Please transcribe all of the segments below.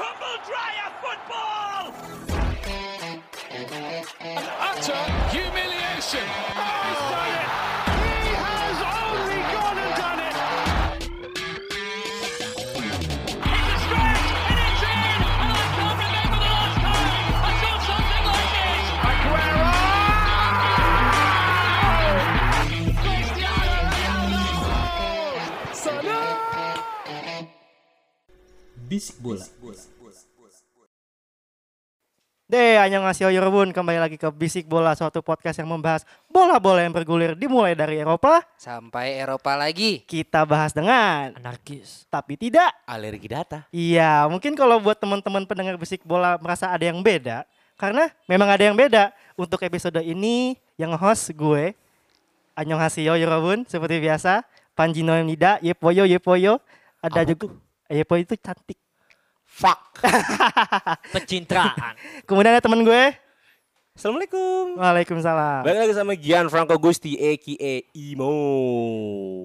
Andrea football! Utter humiliation. It's a stretch, and it's in, and I can't remember the last time I saw something like this! Aguero! Cristiano Ronaldo! Bisik bola. Deh, annyeonghaseyo Yorobun. Kembali lagi ke Bisik Bola, suatu podcast yang membahas bola-bola yang bergulir dimulai dari Eropa. Sampai Eropa lagi. Kita bahas dengan Anarkis. tapi tidak. Alergi data. Iya, mungkin kalau buat teman-teman pendengar Bisik Bola merasa ada yang beda, karena memang ada yang beda. Untuk episode ini yang host gue annyeonghaseyo Yorobun seperti biasa. Panji Noemnida, Yepoyo Yepoyo. Ada juga Eh, Yepoyo itu cantik. Fuck. Pecintraan. Kemudian ada teman gue. Assalamualaikum. Waalaikumsalam. Balik lagi sama Gian Franco Gusti aka Imo.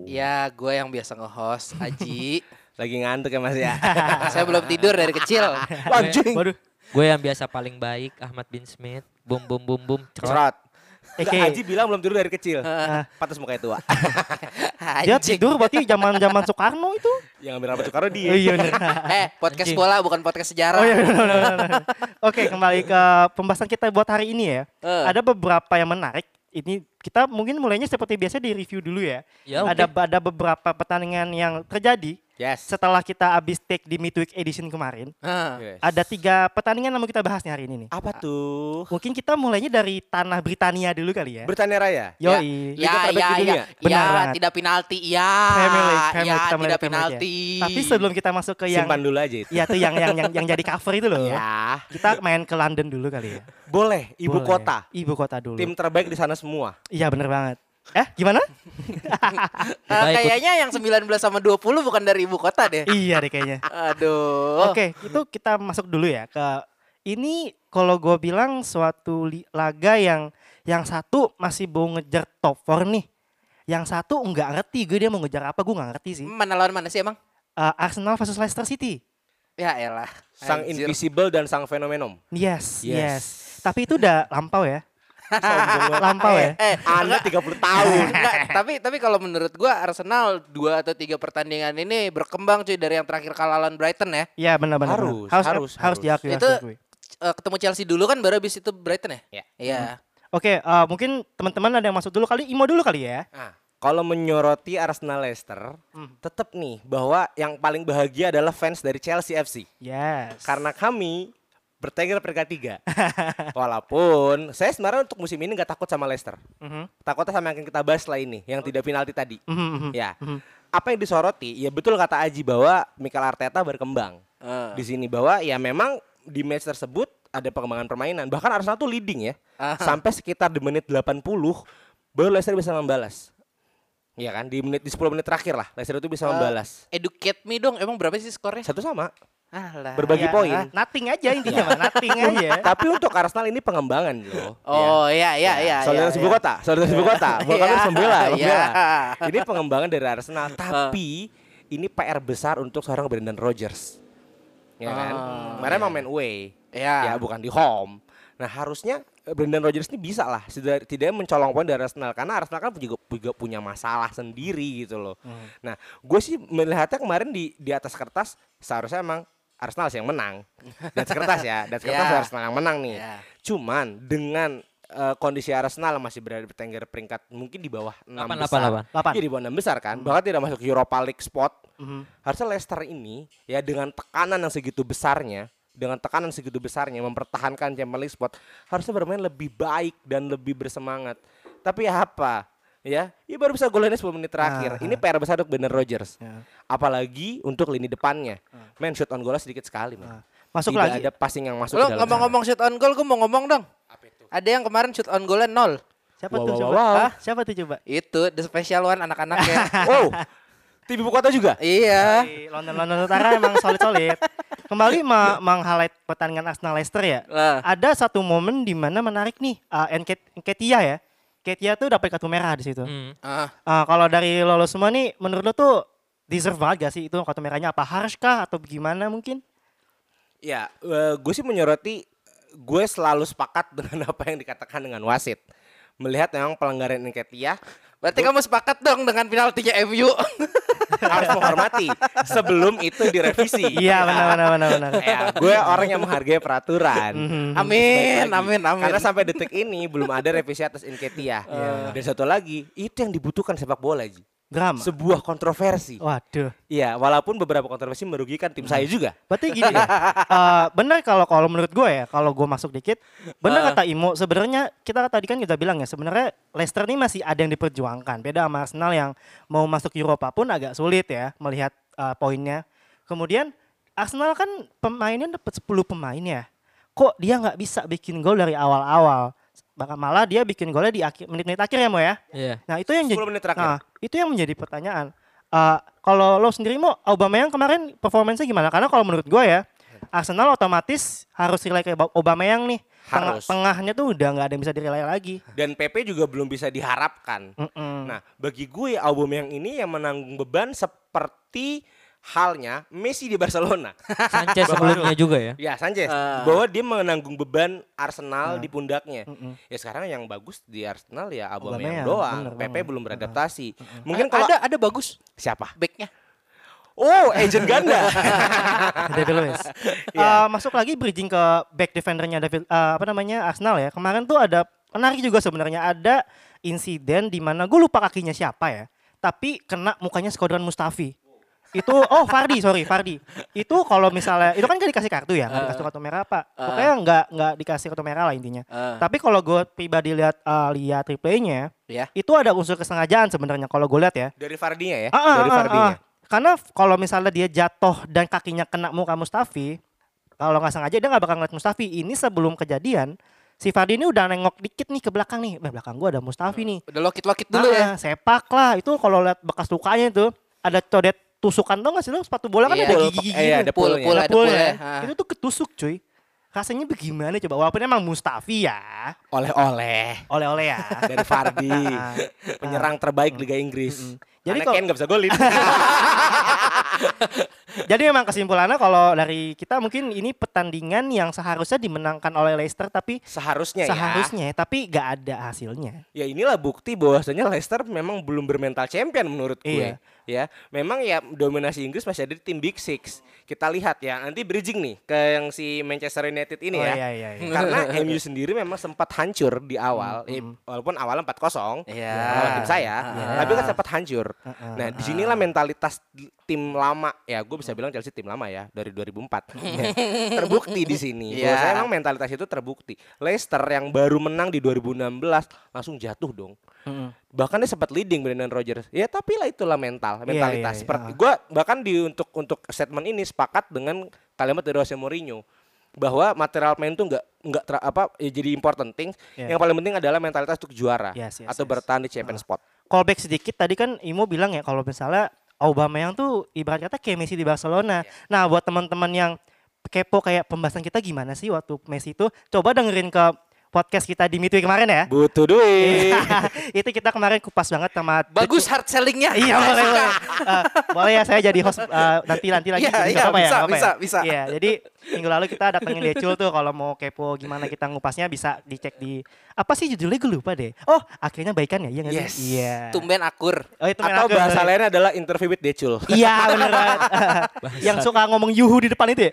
Iya. ya, gue yang biasa nge-host, Aji. Lagi ngantuk ya Mas ya. Ah. Saya belum tidur dari kecil. Anjing. Waduh. Gue yang biasa paling baik Ahmad bin Smith. Bum bum bum bum. Cerot. Cerot. Oke. Haji bilang belum tidur dari kecil. Uh. Ah. Patas mukanya tua. Dia Anjing. tidur berarti zaman-zaman Soekarno itu. Yang ambil rapet Soekarno dia. Oh iya bener. Eh, podcast Anjing. bola bukan podcast sejarah. Oh iya bener, bener, bener. Oke kembali ke pembahasan kita buat hari ini ya. Eh. Ada beberapa yang menarik. Ini kita mungkin mulainya seperti biasa di review dulu ya. Ya, oke. Ada ada beberapa pertandingan yang terjadi Yes. setelah kita habis take di midweek edition kemarin. Hah. Yes. Ada tiga pertandingan yang mau kita bahasnya hari ini nih. Apa tuh? Mungkin kita mulainya dari tanah Britania dulu kali ya. Britania Raya. Yoi. Liga terbaik Ya, ya, di ya, dunia. Benar ya, banget. tidak penalti, ya, Premier League, Premier League, kita ya, mulai tidak dari Premier League penalti. Tapi sebelum kita masuk ke yang Simpan dulu aja itu. Iya tuh yang yang yang, yang jadi cover itu loh. Ya. Kita main ke London dulu kali ya. Boleh ibu Boleh. kota. Ibu kota dulu. Tim terbaik di sana semua. Iya bener banget. Eh gimana? Eh, kayaknya yang 19 sama 20 bukan dari ibu kota deh. iya deh kayaknya. Aduh. Oke, itu kita masuk dulu ya ke ini kalau gue bilang suatu li- laga yang yang satu masih mau ngejar top 4 nih. Yang satu nggak ngerti gue dia mau ngejar apa gue nggak ngerti sih. Mana lawan mana sih emang? Eh, Arsenal versus Leicester City. Ya elah. Sang Anjir. Invisible dan Sang Fenomenom. Yes, yes. Yes. Tapi itu udah lampau ya. lampau ya. Eh, Anda 30 tahun. Enggak, tapi tapi kalau menurut gua Arsenal dua atau tiga pertandingan ini berkembang cuy dari yang terakhir kalah lawan Brighton ya. Iya benar-benar. Harus, harus harus, harus, harus. diakui. harus Itu- diakui. Eh, ketemu Chelsea dulu kan baru habis itu Brighton ya? Iya. Iya. Oke, eh, mungkin teman-teman ada yang masuk dulu kali. Imo dulu kali ya. Nah, kalau menyoroti Arsenal Leicester, Hmm. tetap nih bahwa yang paling bahagia adalah fans dari Chelsea FC. Yes. Karena kami bertengger peringkat tiga. Walaupun saya sebenarnya untuk musim ini nggak takut sama Leicester. Mhm, Takutnya sama yang akan kita bahas lah ini, yang tidak penalti tadi. mhm, mhm. Ya. Mhm. Apa yang disoroti? Ya betul kata Aji bahwa Mikel Arteta berkembang. Eh, Di sini bahwa ya memang di match tersebut ada pengembangan permainan. Bahkan Arsenal tuh leading ya. Aha. Sampai sekitar di menit 80 baru Leicester bisa membalas. Iya kan? Di menit di 10 menit terakhir lah Leicester itu bisa Eh, membalas. educate me dong, emang berapa sih skornya? Satu sama, Alah. berbagi Ya, poin. Nothing aja intinya mah, nothing aja. Tapi untuk Arsenal ini pengembangan loh. Oh iya iya iya. Saudara iya, ibu iya. kota, saudara ibu kota, bukan Iya, harus membela, iya. Ah. membela. Ini pengembangan dari Arsenal, tapi ini PR besar untuk seorang Brendan Rodgers. Ya kan? Ah, Kemarin emang main away, Iya. ya bukan di home. Nah harusnya eh, Brendan Rodgers ini bisa lah tidak tidak mencolong poin dari Arsenal karena Arsenal kan juga, juga punya masalah sendiri gitu loh. Nah gue sih melihatnya kemarin di di atas kertas seharusnya emang Arsenal sih yang menang. Di atas kertas ya, di atas kertas Iya. Arsenal yang menang nih. Iya. Cuman dengan eh, kondisi Arsenal masih berada di tengger peringkat mungkin di bawah 6 besar. Delapan, delapan, delapan. Delapan. Iya, di bawah 6 besar kan. Bahkan tidak masuk Europa League spot. Mhm. Harusnya Leicester ini ya dengan tekanan yang segitu besarnya, dengan tekanan segitu besarnya mempertahankan Champions League spot, harusnya bermain lebih baik dan lebih bersemangat. Tapi apa? Ya, ya baru bisa golannya 10 menit terakhir. Ini PR besar untuk Brendan Rodgers. Ya. Apalagi untuk lini depannya. Men shoot on goalnya sedikit sekali, men. Masuk Tidak lagi. ada passing yang masuk Lo ke dalam ngomong-ngomong shoot on goal, gue mau ngomong dong. Ada yang kemarin shoot on goalnya nol. Siapa Wow, tuh wow, coba? wow. Hah? Siapa tuh coba? Itu the special one anak-anaknya. sana. Wow. Tim ibu kota juga? iya. Di London London Utara emang solid solid. Kembali Iya. ma- meng-highlight pertandingan Arsenal Leicester ya. Lah. Ada satu momen di mana menarik nih, uh, Enket- Enketia ya. Ketia tuh dapat kartu merah di situ. Hmm. Ah, Ah, kalau dari lo, lo semua nih, menurut lo tuh deserve banget gak sih itu kartu merahnya apa harus kah atau gimana mungkin? Ya, gue sih menyoroti gue selalu sepakat dengan apa yang dikatakan dengan wasit. Melihat memang pelanggaran Nketiah Berarti kamu sepakat dong dengan penaltinya MU. harus menghormati sebelum itu direvisi. Iya benar benar benar benar. Ya, gue orang yang menghargai peraturan. Mm-hmm. amin, Hmm, Lagi. amin, amin. Karena sampai detik ini belum ada revisi atas Nketiah. Iya. Dan satu lagi, itu yang dibutuhkan sepak bola, Ji. Drama. Sebuah kontroversi. Oh. Waduh. Iya, walaupun beberapa kontroversi merugikan tim Mm-hmm. saya juga. Berarti gini ya. eh, benar kalau kalau menurut gue ya, kalau gue masuk dikit, benar kata Imo. Sebenarnya kita tadi kan kita bilang ya, sebenarnya Leicester ini masih ada yang diperjuangkan. Beda sama Arsenal yang mau masuk Eropa pun agak sulit ya melihat eh, poinnya. Kemudian Arsenal kan pemainnya dapat 10 pemain ya. Kok dia nggak bisa bikin gol dari awal-awal? Bahkan malah dia bikin golnya di akhir menit-menit akhir ya Mo ya. Iya. Nah itu yang 10 jadi, menit terakhir. Ah. Nah, itu yang menjadi pertanyaan. Eh, kalau lo sendiri mau Aubameyang kemarin performanya gimana? Karena kalau menurut gue ya Arsenal otomatis harus rely ke Aub- Aubameyang nih. Tengah- Harus. tengahnya tuh udah nggak ada yang bisa direlay lagi. Dan PP juga belum bisa diharapkan. Mm-mm. Nah, bagi gue album yang ini yang menanggung beban seperti halnya Messi di Barcelona. Sanchez sebelumnya juga ya. ya, Sanchez. Bahwa dia menanggung beban Iya. Arsenal di pundaknya. Ya sekarang yang bagus di Arsenal ya Aubameyang Aubameyang, doang. bener Eh, PP banget. belum beradaptasi. Mungkin kalau ada ada bagus siapa? backnya. Oh, agent ganda. David Luiz. Eh, masuk lagi bridging ke back defendernya David eh, apa namanya Arsenal ya. Kemarin tuh ada menarik juga sebenarnya ada insiden di mana gue lupa kakinya siapa ya. Tapi kena mukanya Skodran Mustafi. Itu oh Fardi sorry Fardi. Itu kalau misalnya itu kan gak dikasih kartu ya, nggak dikasih kartu merah apa. Pokoknya nggak nggak dikasih kartu merah lah intinya. Eh. Tapi kalau gue pribadi lihat eh, lihat replaynya, Ya. itu ada unsur kesengajaan sebenarnya kalau gue lihat ya. Dari Fardinya ya, Ah, ah, dari ah, Fardinya. ah. Karena f- kalau misalnya dia jatuh dan kakinya kena muka Mustafi, kalau nggak sengaja dia nggak bakal ngeliat Mustafi. Ini sebelum kejadian, si Fardi ini udah nengok dikit nih ke belakang nih. Wah, belakang gua ada Mustafi nih. Udah lokit-lokit dulu ya. Ah, Sepak lah. Itu kalau lihat bekas lukanya itu ada codet tusukan tau nggak sih lo sepatu bola kan Iya. ada Pul- gigi-gigi. eh, gitu. ada Pul, pulnya. pul, Ada ada pul pulnya. ya. Ah. Itu tuh ketusuk cuy. Rasanya bagaimana coba? Walaupun emang Mustafi ya, Oleh-oleh oleh-oleh ya. dari Fardi. Ah, Penyerang terbaik Liga Inggris. Jadi Jadi kalau- Ken nggak bisa golin. Jadi memang kesimpulannya kalau dari kita mungkin ini pertandingan yang seharusnya dimenangkan oleh Leicester tapi Seharusnya, ya. seharusnya tapi nggak ada hasilnya. Ya inilah bukti bahwasanya Leicester memang belum bermental champion menurut gue. Iya. Ya, memang ya dominasi Inggris masih ada di tim Big Six. Kita lihat ya, nanti bridging nih ke yang si Manchester United ini Oh, ya. iya, iya, iya. Karena MU sendiri memang sempat hancur di awal, eh, walaupun awal 4-0 Iya. Ya, lawan ya, tim saya, tapi kan sempat hancur. Nah, disinilah mentalitas di- tim lama ya, gue bisa bilang Chelsea tim lama ya dari 2004 Ya, terbukti di sini. Iya. Bahwasanya emang mentalitas itu terbukti. Leicester yang baru menang di 2016 langsung jatuh dong. Bahkan dia sempat leading Brendan Rodgers. Ya tapi lah itulah mental, mentalitas. iya, Seperti iya. gue bahkan di untuk untuk statement ini sepakat dengan kalimat dari Jose Mourinho bahwa material main tuh nggak nggak ter- apa ya jadi important thing. Iya. Yang paling penting adalah mentalitas untuk juara Yes, yes, atau yes. bertahan di champion spot. Callback sedikit tadi kan Imo bilang ya kalau misalnya Aubameyang tuh ibarat kata kayak Messi di Iya. Barcelona. Nah buat teman-teman yang kepo kayak pembahasan kita gimana sih waktu Messi itu coba dengerin ke podcast kita di Midweek kemarin ya. Butuh Iya, duit. itu kita kemarin kupas banget sama Bagus hard sellingnya. Iya boleh boleh. Eh, boleh ya saya jadi host eh, nanti nanti lagi. Iya, jadi iya, nggak apa-apa ya, bisa, nggak apa-apa ya. bisa, bisa. Iya jadi minggu lalu kita datengin Decul tuh kalau mau kepo gimana kita ngupasnya bisa dicek di apa sih judulnya gue lupa deh. Oh akhirnya baikan ya iya nggak Yes. sih? Iya. Tumben akur. Oh, itu atau Merakel, bahasa sorry. lainnya adalah interview with Decul. Iya bener banget. Yang suka ngomong yuhu di depan itu ya?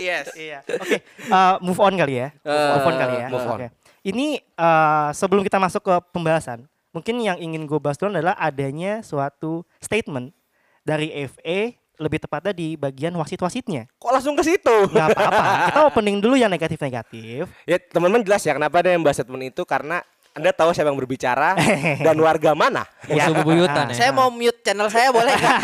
Yes. Iya. Oke, eh, move on kali ya. move on kali ya. Eh, move on. Oke. Ini eh, sebelum kita masuk ke pembahasan, mungkin yang ingin gue bahas dulu adalah adanya suatu statement dari FA lebih tepatnya di bagian wasit-wasitnya. Kok langsung ke situ? Gak apa-apa. kita opening dulu yang negatif-negatif. Ya teman-teman jelas ya kenapa ada yang bahas statement itu karena anda tahu siapa yang berbicara dan warga mana? Musuh bebuyutan ya. Saya mau mute channel saya boleh nggak?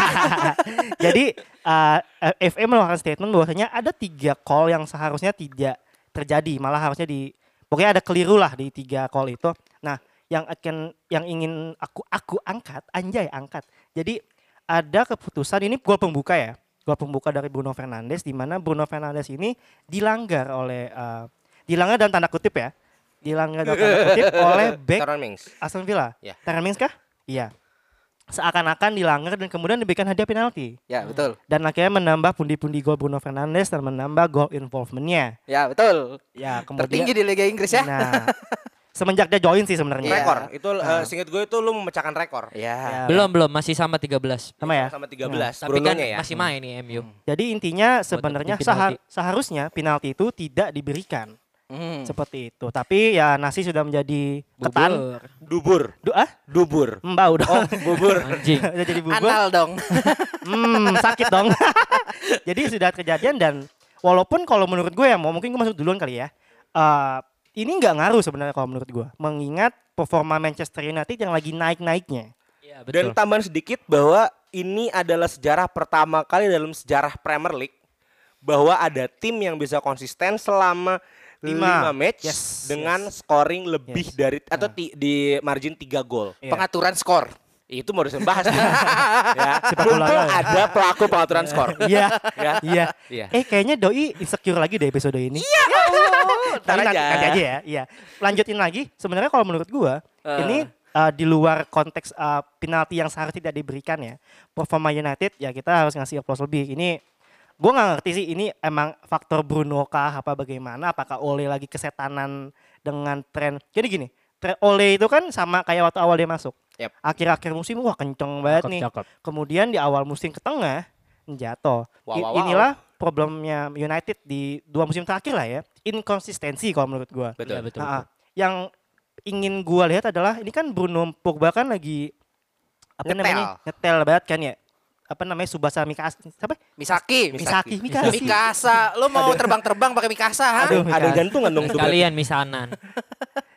Jadi uh, FA mengeluarkan statement bahwasanya ada tiga call yang seharusnya tidak terjadi, malah harusnya di pokoknya ada keliru lah di tiga call itu. Nah, yang akan yang ingin aku aku angkat, anjay angkat. Jadi ada keputusan ini gol pembuka ya, gol pembuka dari Bruno Fernandes di mana Bruno Fernandes ini dilanggar oleh uh, dilanggar dalam tanda kutip ya, dilanggar dalam tanda kutip oleh back Taron Mings. Aston Villa. Ya. Terang Mings kah? Iya. seakan-akan dilanggar dan kemudian diberikan hadiah penalti. Ya betul. Dan akhirnya menambah pundi-pundi gol Bruno Fernandes dan menambah gol involvementnya. Ya betul. Ya kemudian. Tertinggi di Liga Inggris ya. Nah, semenjak dia join sih Iya. sebenarnya. Rekor. Itu eh, singkat gue itu lu memecahkan rekor. Iya, Ya. Ya, Belum belum masih sama 13. Sama ya. Sama 13. Tapi kan Brunonya ya. masih main nih MU. Jadi intinya sebenarnya penalti. sehar- seharusnya penalti itu tidak diberikan Hmm. seperti itu. Tapi ya nasi sudah menjadi ketan. Bubur. Dubur. Doa? Dubur. Mbak udah. Oh, bubur. Anjing. Udah jadi bubur. Anal dong. Hmm, sakit dong. Jadi sudah kejadian dan walaupun kalau menurut gue ya, mau mungkin gue masuk duluan kali ya. Eh, ini nggak ngaruh sebenarnya kalau menurut gue. Mengingat performa Manchester United yang lagi naik-naiknya. Iya Dan betul. tambahan sedikit bahwa ini adalah sejarah pertama kali dalam sejarah Premier League bahwa ada tim yang bisa konsisten selama 5 Lima. match Yes, dengan scoring lebih Yes. Ah. dari atau ti- di margin 3 gol. Iya. Pengaturan skor. Itu mau dibahas. ya. Sepak bola. Untung ada pelaku pengaturan skor. Iya, Ya. iya. Iya. Eh kayaknya Doi insecure lagi deh episode ini. Iya. Ntar nanti, aja. nanti aja ya. Iya. Lanjutin lagi. Sebenarnya kalau menurut gue, Eh. ini eh, di luar konteks eh, penalti yang seharusnya tidak diberikan ya. Performa United ya kita harus ngasih aplaus lebih. Ini gue nggak ngerti sih ini emang faktor Bruno kah apa bagaimana? Apakah Ole lagi kesetanan dengan tren? Jadi gini, tren Ole itu kan sama kayak waktu awal dia masuk. Yep. Akhir-akhir musim wah kenceng banget nih. Cakep. Kemudian di awal musim ke tengah jatuh. Wow, wow, I- wow. Inilah problemnya United di dua musim terakhir lah ya. Inkonsistensi kalau menurut gua. Betul. Betul. Iya, betul. Nah, yang ingin gua lihat adalah ini kan Bruno Pogba kan lagi apa Ngetel. namanya? Ngetel banget kan ya. Apa namanya? Subasa Mikasa. Siapa? Misaki. Misaki, Mikasa. Mikasa. Lu mau terbang-terbang pakai Mikasa ha? Aduh, Ada Mikasa. gantungan dong tuh. Kalian misanan.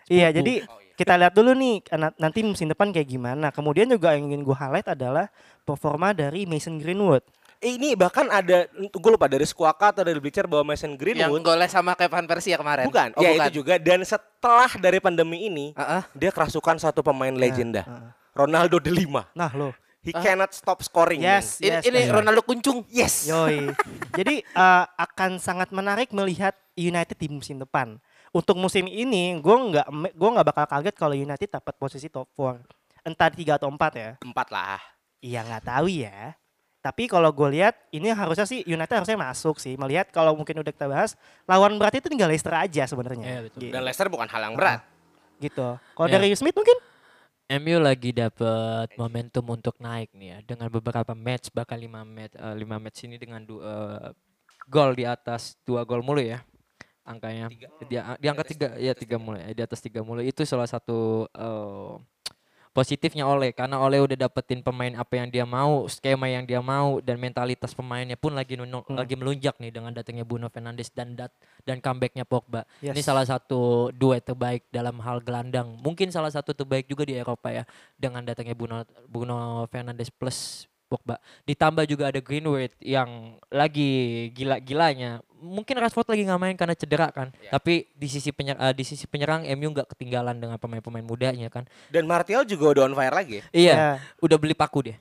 Iya, jadi kita lihat dulu nih na- nanti musim depan kayak gimana. Kemudian juga yang ingin gua highlight adalah performa dari Mason Greenwood. Eh, ini bahkan ada gue lupa dari Squawka atau dari Bleacher bahwa Mason Yang Greenwood golnya sama kayak Van Persie ya kemarin. bukan, Oh, ya bukan. itu juga dan setelah dari pandemi ini Heeh. dia kerasukan satu pemain legenda. heeh. Ronaldo delima. Nah, lo. He cannot stop scoring. Yes. Ini, ini benar. Ronaldo kuncung. Yes. Yoi. Jadi eh, akan sangat menarik melihat United di musim depan. Untuk musim ini, gue nggak me- gua nggak bakal kaget kalau United dapat posisi top 4. Entah 3 atau 4 ya. Min. Empat lah. Iya nggak tahu ya. Tapi kalau gue lihat, ini harusnya sih United harusnya masuk sih. Melihat kalau mungkin udah kita bahas, lawan berat itu tinggal Leicester aja sebenarnya. Iya, betul. Gi- Dan Leicester bukan hal yang berat. Gitu. Kalau Iya. dari Smith mungkin? MU lagi dapat momentum untuk naik nih ya dengan beberapa match bahkan 5 match eh, lima match ini dengan dua eh, gol di atas dua gol mulu ya angkanya di, di angka tiga ya tiga mulu ya, di atas tiga mulu itu salah satu eh, positifnya Oleh karena Oleh udah dapetin pemain apa yang dia mau skema yang dia mau dan mentalitas pemainnya pun lagi nunu- lagi melunjak nih dengan datangnya Bruno Fernandes dan dat dan comebacknya Pogba ini Yes. salah satu duet terbaik dalam hal gelandang mungkin salah satu terbaik juga di Eropa ya dengan datangnya Bruno Bruno Fernandes plus Pogba ditambah juga ada Greenwood yang lagi gila-gilanya mungkin Rashford lagi nggak main karena cedera kan tapi di sisi penyer- eh, di sisi penyerang MU nggak ketinggalan dengan pemain-pemain mudanya kan Dan Martial juga udah on fire lagi. Iya, Iya. udah beli paku dia.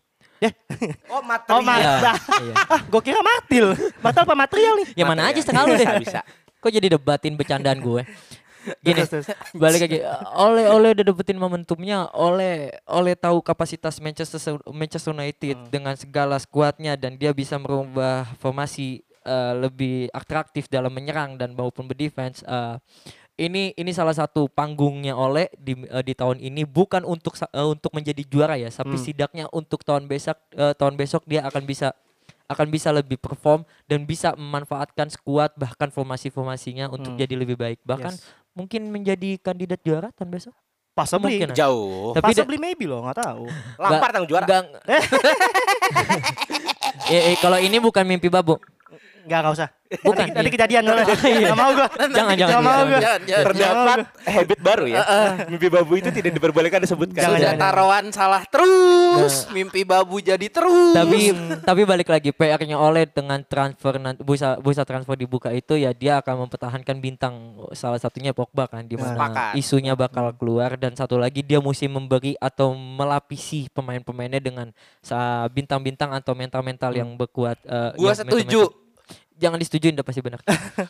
Oh, material. Oh, Marta. iya. ah, gue kira Martil. Martil apa material nih? Yang mana aja setengah lu deh. Bisa, bisa. Kok jadi debatin bercandaan gue? Gini, Terus, terus. balik lagi. Oleh oleh udah dapetin momentumnya, oleh oleh tahu kapasitas Manchester Manchester United dengan segala skuadnya dan dia bisa merubah formasi eh, lebih atraktif dalam menyerang dan maupun berdefense. eh, ini ini salah satu panggungnya oleh di eh, di tahun ini bukan untuk sa- eh, untuk menjadi juara ya, tapi setidaknya untuk tahun besok eh, tahun besok dia akan bisa akan bisa lebih perform dan bisa memanfaatkan skuad bahkan formasi-formasinya untuk jadi lebih baik bahkan Yes. mungkin menjadi kandidat juara tahun besok Possibly. Mungkin. Jauh. tapi da- Possibly maybe loh, nggak tahu. Lampar tang juara. enggak Eh, eh, kalau ini bukan mimpi babu Nggak, nggak usah. Bukan, Nanti, nanti iya. kejadian dulu. Nggak mau gue. jangan jangan, Iya. mau jangan, gue. Jangan, jangan. Terdapat habit baru ya. Mimpi babu itu tidak diperbolehkan disebutkan. Jangan, Sudah jangan. Nah. taruhan salah terus, mimpi babu jadi terus. tapi tapi balik lagi PR-nya oleh dengan transfer nanti bursa bursa transfer dibuka itu ya dia akan mempertahankan bintang salah satunya Pogba kan di mana Sepakat. isunya bakal keluar dan satu lagi dia mesti memberi atau melapisi pemain-pemainnya dengan sa- bintang-bintang atau mental-mental yang berkuat eh, Gua yang setuju. mental-mental- jangan disetujuin udah pasti benar.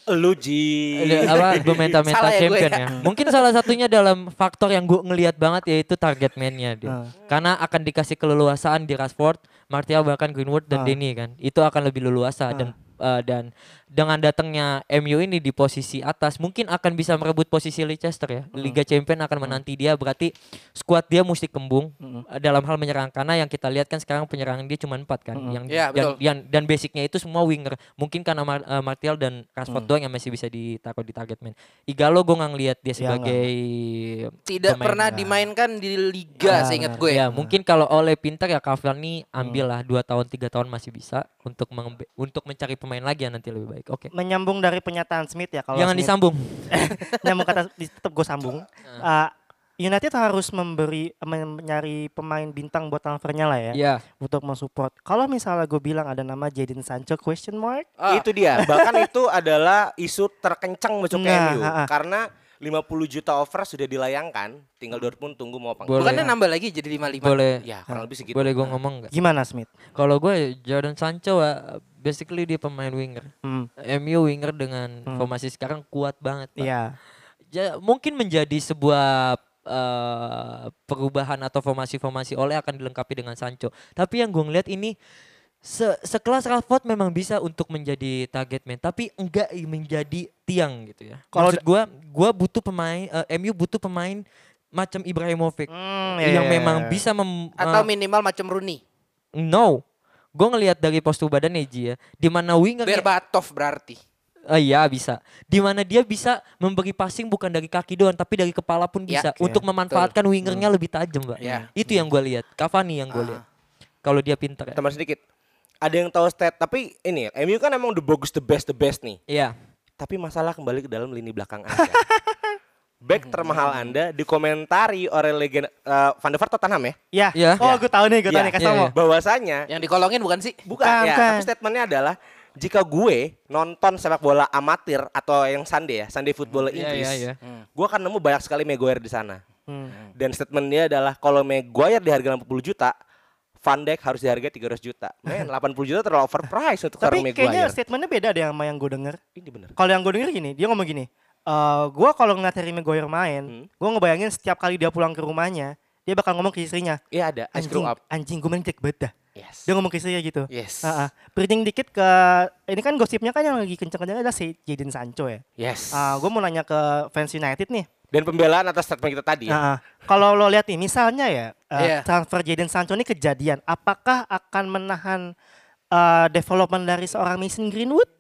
Lu Ji. Ada Iya, apa bermeta-meta Salah ya gue champion ya. ya. Mungkin salah satunya dalam faktor yang gue ngelihat banget yaitu target man-nya dia. Ah. Karena akan dikasih keleluasaan di Rashford, Martial bahkan Greenwood dan Ah. Denny kan. Itu akan lebih leluasa dan eh, dan dengan datangnya MU ini di posisi atas mungkin akan bisa merebut posisi Leicester ya. Hmm. Liga Champion akan menanti dia berarti skuad dia mesti kembung eh, dalam hal menyerang karena yang kita lihat kan sekarang penyerangan dia cuma empat kan. Yang Iya, dan, betul. yang- dan basicnya itu semua winger. Mungkin karena Mar- eh, Martial dan Rashford Mm. doang yang masih bisa ditaruh di target man. Igalo gue nggak ngelihat Iya, dia sebagai Tidak pemain, pernah eh, dimainkan di Nah, liga seingat gue. iya, Ya, mungkin kalau oleh pintar ya Cavani Mm. ambillah dua tahun tiga tahun masih bisa untuk menge- untuk mencari pemain lagi yang nanti lebih baik. Oke. Menyambung dari pernyataan Smith ya kalau Jangan Smith- disambung. nyambung kata tetap gue sambung. Ah, United harus memberi men- mencari pemain bintang buat transfernya lah ya, Iya. untuk mensupport. Kalau misalnya gue bilang ada nama Jadon Sancho question mark, Ah. Itu dia. Bahkan itu adalah isu terkencang masuk ke Nah, MU ah, ah. karena 50 juta offer sudah dilayangkan, tinggal Dortmund tunggu mau apa. enggak. Boleh. Bukannya nambah lagi jadi 55. Boleh. Ya, kurang lebih gitu. segitu. Boleh gue ngomong nggak? gimana Smith? Kalau gue Jordan Sancho ah, basically dia pemain winger. Hmm, MU winger dengan formasi sekarang kuat banget. Pak. Iya. Ja- mungkin menjadi sebuah eh, perubahan atau formasi-formasi oleh akan dilengkapi dengan Sancho. Tapi yang gue ngeliat ini se- sekelas Rashford memang bisa untuk menjadi target man, tapi enggak i- menjadi tiang gitu ya. Kalau Kalau gue, gue butuh pemain, eh, MU butuh pemain macam Ibrahimovic Hmm, iya, yang iya, memang iya. bisa mem- Atau eh, minimal macam Rooney. no. Gue ngelihat dari postur badannya Ji ya, di mana Iya. winger Berbatov berarti. Eh, Iya bisa. Dimana dia bisa memberi passing bukan dari kaki doang, tapi dari kepala pun Ya, bisa. oke. Hmm. Untuk memanfaatkan wingernya lebih tajam, mbak. Ya. Ah. Itu yang gue lihat. Cavani yang gue lihat. Kalau dia pinter. ya. Tambah sedikit. Ada yang tahu stat, tapi ini MU kan emang the bagus, the best, the best nih. Iya. Tapi masalah kembali ke dalam lini belakang Anda. Back termahal Anda dikomentari oleh legenda eh, Van der Vaart Tottenham ya. Iya. Iya. Oh, gue tahu nih, gue tahu Iya, nih kasih tau iya, mau. iya. Bahwasanya Yang dikolongin bukan sih? Bukan, Bukan, ya, bukan. tapi statementnya adalah jika gue nonton sepak bola amatir atau yang Sunday ya, Sunday football Iya, Inggris, iya, iya. gue akan nemu banyak sekali Maguire di sana. Hmm. Dan statementnya adalah kalau Maguire di harga 80 juta, Van Dijk harus di harga 300 juta. Men, 80 juta terlalu overpriced untuk Tapi seorang kayaknya Maguire. statementnya beda deh sama yang gue denger. Ini bener. Kalau yang gue denger gini, dia ngomong gini. Eh, gue kalau ngeliat Harry Maguire Hmm. main, gue ngebayangin setiap kali dia pulang ke rumahnya, dia bakal ngomong ke istrinya, Iya ada, I anjing, screw up. anjing gue main jelek banget dah. Yes. Dia ngomong ke istrinya gitu. Yes. Heeh. Bridging dikit ke ini kan gosipnya kan yang lagi kenceng-kenceng adalah si Jadon Sancho ya. Yes. gue mau nanya ke fans United nih. Dan pembelaan atas statement kita tadi ya. Heeh. Kalau lo lihat nih, misalnya ya eh, Iya. transfer Jadon Sancho ini kejadian, apakah akan menahan eh, development dari seorang Mason Greenwood?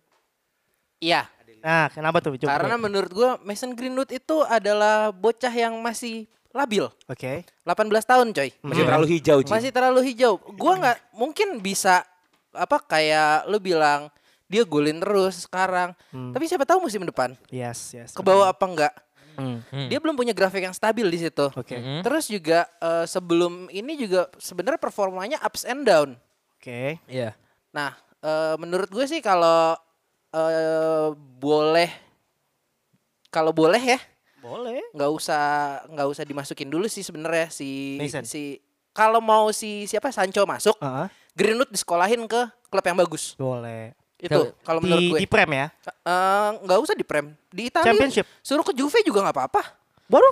Iya. Nah, kenapa tuh? Coba. Karena menurut gue Mason Greenwood itu adalah bocah yang masih labil. Oke. 18 tahun coy. Masih hmm. terlalu hijau, Ji. Masih terlalu hijau. Gua nggak mungkin bisa apa kayak lu bilang dia golin terus sekarang. Hmm. Tapi siapa tahu musim depan Yes, yes. ke bawah apa enggak. Hmm. Dia belum punya grafik yang stabil di situ. Oke. Mhm. Terus juga eh, sebelum ini juga sebenarnya performanya ups and down. Oke. Iya. Nah, eh, menurut gue sih kalau eh, boleh kalau boleh ya Boleh. nggak usah nggak usah dimasukin dulu sih sebenarnya si Mason. Ah. si kalau mau si siapa Sancho masuk Heeh. Greenwood disekolahin ke klub yang bagus Boleh. itu Di, kalau menurut gue di prem ya. Eh, nggak usah di prem di Italia Championship. suruh ke Juve juga nggak apa-apa Baru.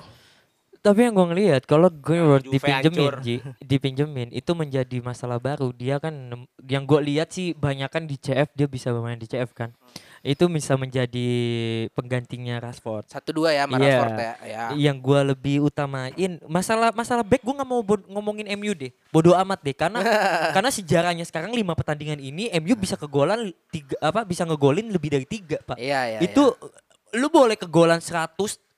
Tapi yang gue ngelihat kalau Ah, Greenwood Juve dipinjemin, hancur. Ji, dipinjemin itu menjadi masalah baru. Dia kan nem- yang gue lihat sih banyakan di CF dia bisa bermain di CF kan. Hmm. Itu bisa menjadi penggantinya Rashford. satu dua ya sama Iya. Rashford ya, ya. yang gua lebih utamain masalah masalah back gua nggak mau bod- ngomongin MU deh bodoh amat deh karena karena sejarahnya sekarang lima pertandingan ini MU bisa kegolan tiga apa bisa ngegolin lebih dari tiga pak Iya, iya, itu lu boleh kegolan 100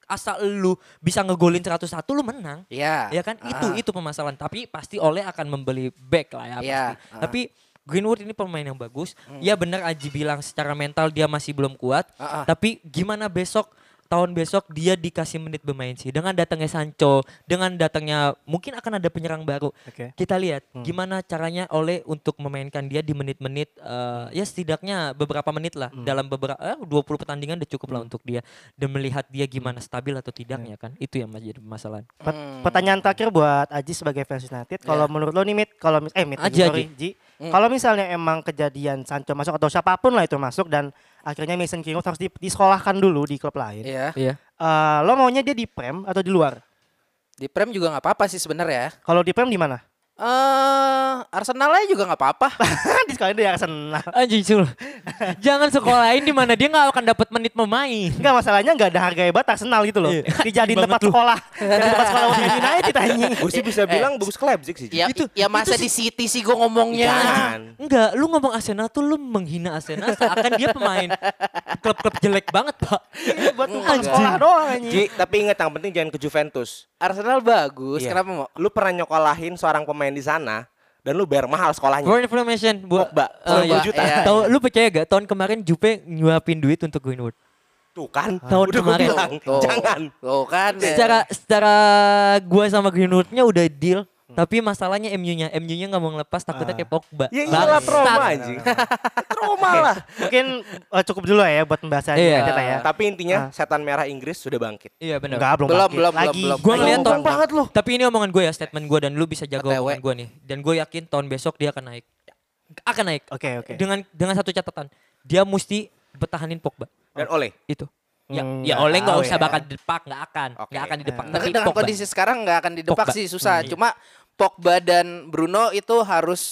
asal lu bisa ngegolin 101 lu menang Iya. ya kan itu Ah. itu permasalahan tapi pasti oleh akan membeli back lah ya pasti Iya, ah. Hmm. tapi Greenwood ini pemain yang bagus ya benar Aji bilang secara mental dia masih belum kuat Ah, ah. tapi gimana besok tahun besok dia dikasih menit bermain sih dengan datangnya Sancho dengan datangnya mungkin akan ada penyerang baru Oke. kita lihat Hmm. gimana caranya oleh untuk memainkan dia di menit-menit eh, ya setidaknya beberapa menit lah Hmm. dalam beberapa eh, 20 pertandingan udah cukup lah untuk dia dan melihat dia gimana stabil atau Ya. tidaknya kan itu yang menjadi permasalahan Pet- Hmm. Pertanyaan terakhir buat Aji sebagai fans Ya. United. Kalau menurut lo nih Mit, kalau mis eh Mit, Aji, Hmm. sorry, Ji. Kalau misalnya emang kejadian Sancho masuk atau siapapun lah itu masuk dan akhirnya Mason Greenwood harus di- disekolahkan dulu di klub lain. Iya. Iya. Eh, lo maunya dia di prem atau di luar? Di Prem juga nggak apa-apa sih sebenarnya. ya. Kalau di prem di mana? Eh, Arsenal aja juga nggak apa-apa. di sekolah di Arsenal. Anjing Sul. Jangan sekolahin di mana dia nggak akan dapat menit memain. Enggak masalahnya enggak ada harga hebat Arsenal gitu Iya. loh. Dijadiin tempat sekolah. Jadi tempat sekolah untuk Man United anjing. Gue sih Eh, bisa bilang bagus ke Leipzig sih. iya. ya, ya masa di City sih gue ngomongnya. Jangan. Enggak, lu ngomong Arsenal tuh lu menghina Arsenal seakan dia pemain klub-klub jelek banget, Pak. Ini Buat tempat sekolah doang anjing. Ji, tapi ingat yang penting jangan ke Juventus. Arsenal bagus. Iya. Kenapa mau? Lu pernah nyokolahin seorang pemain di sana dan lu bayar mahal sekolahnya. For information buat Pogba, 40 Eh, ya. juta. Eh, Tahu lu percaya gak tahun kemarin Jupe nyuapin duit untuk Greenwood. Tuh kan, Tahun udah gua kemarin. bilang, Tuh. jangan. Tuh kan. ya. Secara secara gua sama Greenwoodnya udah deal, tapi masalahnya MU-nya, MU-nya nggak mau ngelepas takutnya kayak Pogba. Ya iyalah Bangsat. trauma anjing. trauma lah. Mungkin eh, cukup dulu lah ya buat pembahasan Iya. United lah ya. Tapi Ah. intinya setan merah Inggris sudah bangkit. Iya benar. Enggak, belum, Belum, bangkit. belum, lagi. belum, belum. Gue Lagi ngeliat mau tahun bangkit. banget loh. Tapi ini omongan gue ya, statement gue dan lu bisa jaga OTW. omongan gue nih. Dan gue yakin tahun besok dia akan naik. Akan naik. Oke, oke. Iya, Dengan dengan satu catatan, dia mesti bertahanin Pogba. Dan oleh Itu. Ya, Hmm, ya nggak oleh nggak tahu usah ya. bakal didepak, nggak akan, Oke. nggak akan didepak. Tapi Tapi dengan Pogba. kondisi sekarang nggak akan didepak Pogba. sih susah. Hmm, iya. Cuma Pogba dan Bruno itu harus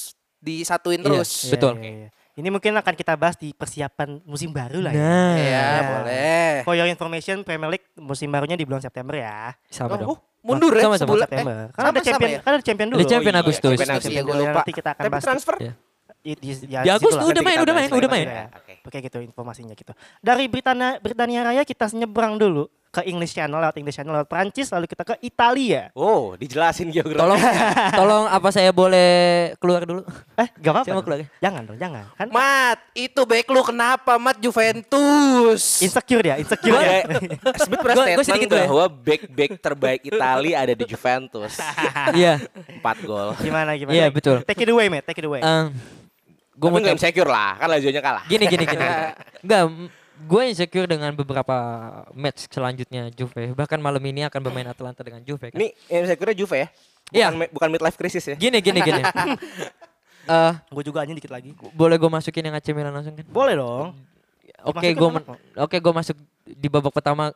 disatuin Iya, terus. Iya, Betul. iya, iya. Ini mungkin akan kita bahas di persiapan musim baru lah ya. Nah, Iya, Iya. boleh. For your information, Premier League musim barunya di bulan September ya. Oh, sama dong. oh, mundur ya Sama-sama, sebulan. Eh, September. Karena ada sama-sama champion, ya? kan ada champion dulu. Ada champion Oh, iya, Agustus. champion Agustus, Agustus. iya, gua lupa. Nanti kita akan tapi bahas. transfer It is- Di situ Agustus lah. udah Nanti kita main, udah main, bahas udah lagi. main. Iya, Ya, Oke. Oke gitu informasinya gitu. Dari Britania Britania Raya kita nyebrang dulu ke English Channel lewat English Channel lewat Prancis lalu kita ke Italia. Oh, dijelasin geografi. Tolong, tolong apa saya boleh keluar dulu? Eh, gak apa-apa. Saya mau dong. keluar ya. Jangan dong, jangan. Kan Mat, itu back lu kenapa Mat Juventus? insecure ya, insecure Gua- ya. Sebetulnya Gua- gua statement sedikit dulu ya. bahwa back-back terbaik Itali ada di Juventus. Iya, 4 gol. gimana gimana? iya betul. Ah. Take it away, mate. Take it away. gue Tapi mau nggak tanya- insecure lah, kan Lazio-nya kalah. gini gini gini. Enggak, gue insecure dengan beberapa match selanjutnya Juve. Bahkan malam ini akan bermain Atlanta dengan Juve. Kan? Ini insecure Juve ya? Bukan, Iya. mi- bukan midlife crisis ya? Gini gini gini. Eh, Gue juga anjing dikit lagi. boleh gue masukin yang AC Milan langsung kan? Boleh dong. Oke, Masukin gue banget kok. oke gue masuk di babak pertama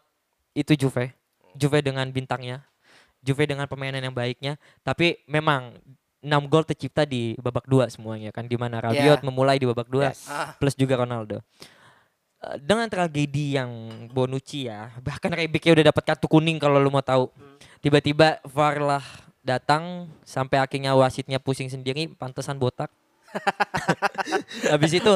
itu Juve. Juve dengan bintangnya. Juve dengan pemainan yang baiknya, tapi memang 6 gol tercipta di babak dua semuanya kan di mana Rabiot Iya. memulai di babak dua Yes. Ah. plus juga Ronaldo. Eh, Dengan tragedi yang Bonucci ya, bahkan Rebic ya udah dapat kartu kuning kalau lu mau tahu. Tiba-tiba VAR lah datang sampai akhirnya wasitnya pusing sendiri, pantesan botak. habis itu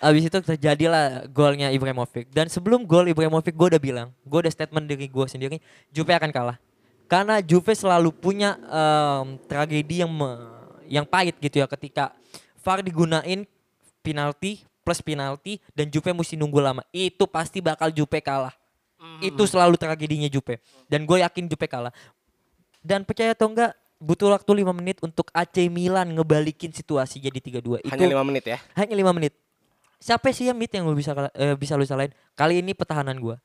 habis itu terjadilah golnya Ibrahimovic dan sebelum gol Ibrahimovic gue udah bilang gue udah statement diri gue sendiri Juve akan kalah karena Juve selalu punya em, tragedi yang me- yang pahit gitu ya ketika VAR digunain penalti plus penalti dan Juve mesti nunggu lama itu pasti bakal Juve kalah itu selalu tragedinya Juve dan gue yakin Juve kalah dan percaya atau enggak butuh waktu 5 menit untuk AC Milan ngebalikin situasi jadi 3-2 itu Hanya 5 menit ya? hanya lima menit. Siapa sih yang mid yang lu bisa kala- eh, bisa lu salahin? Kali ini pertahanan gua.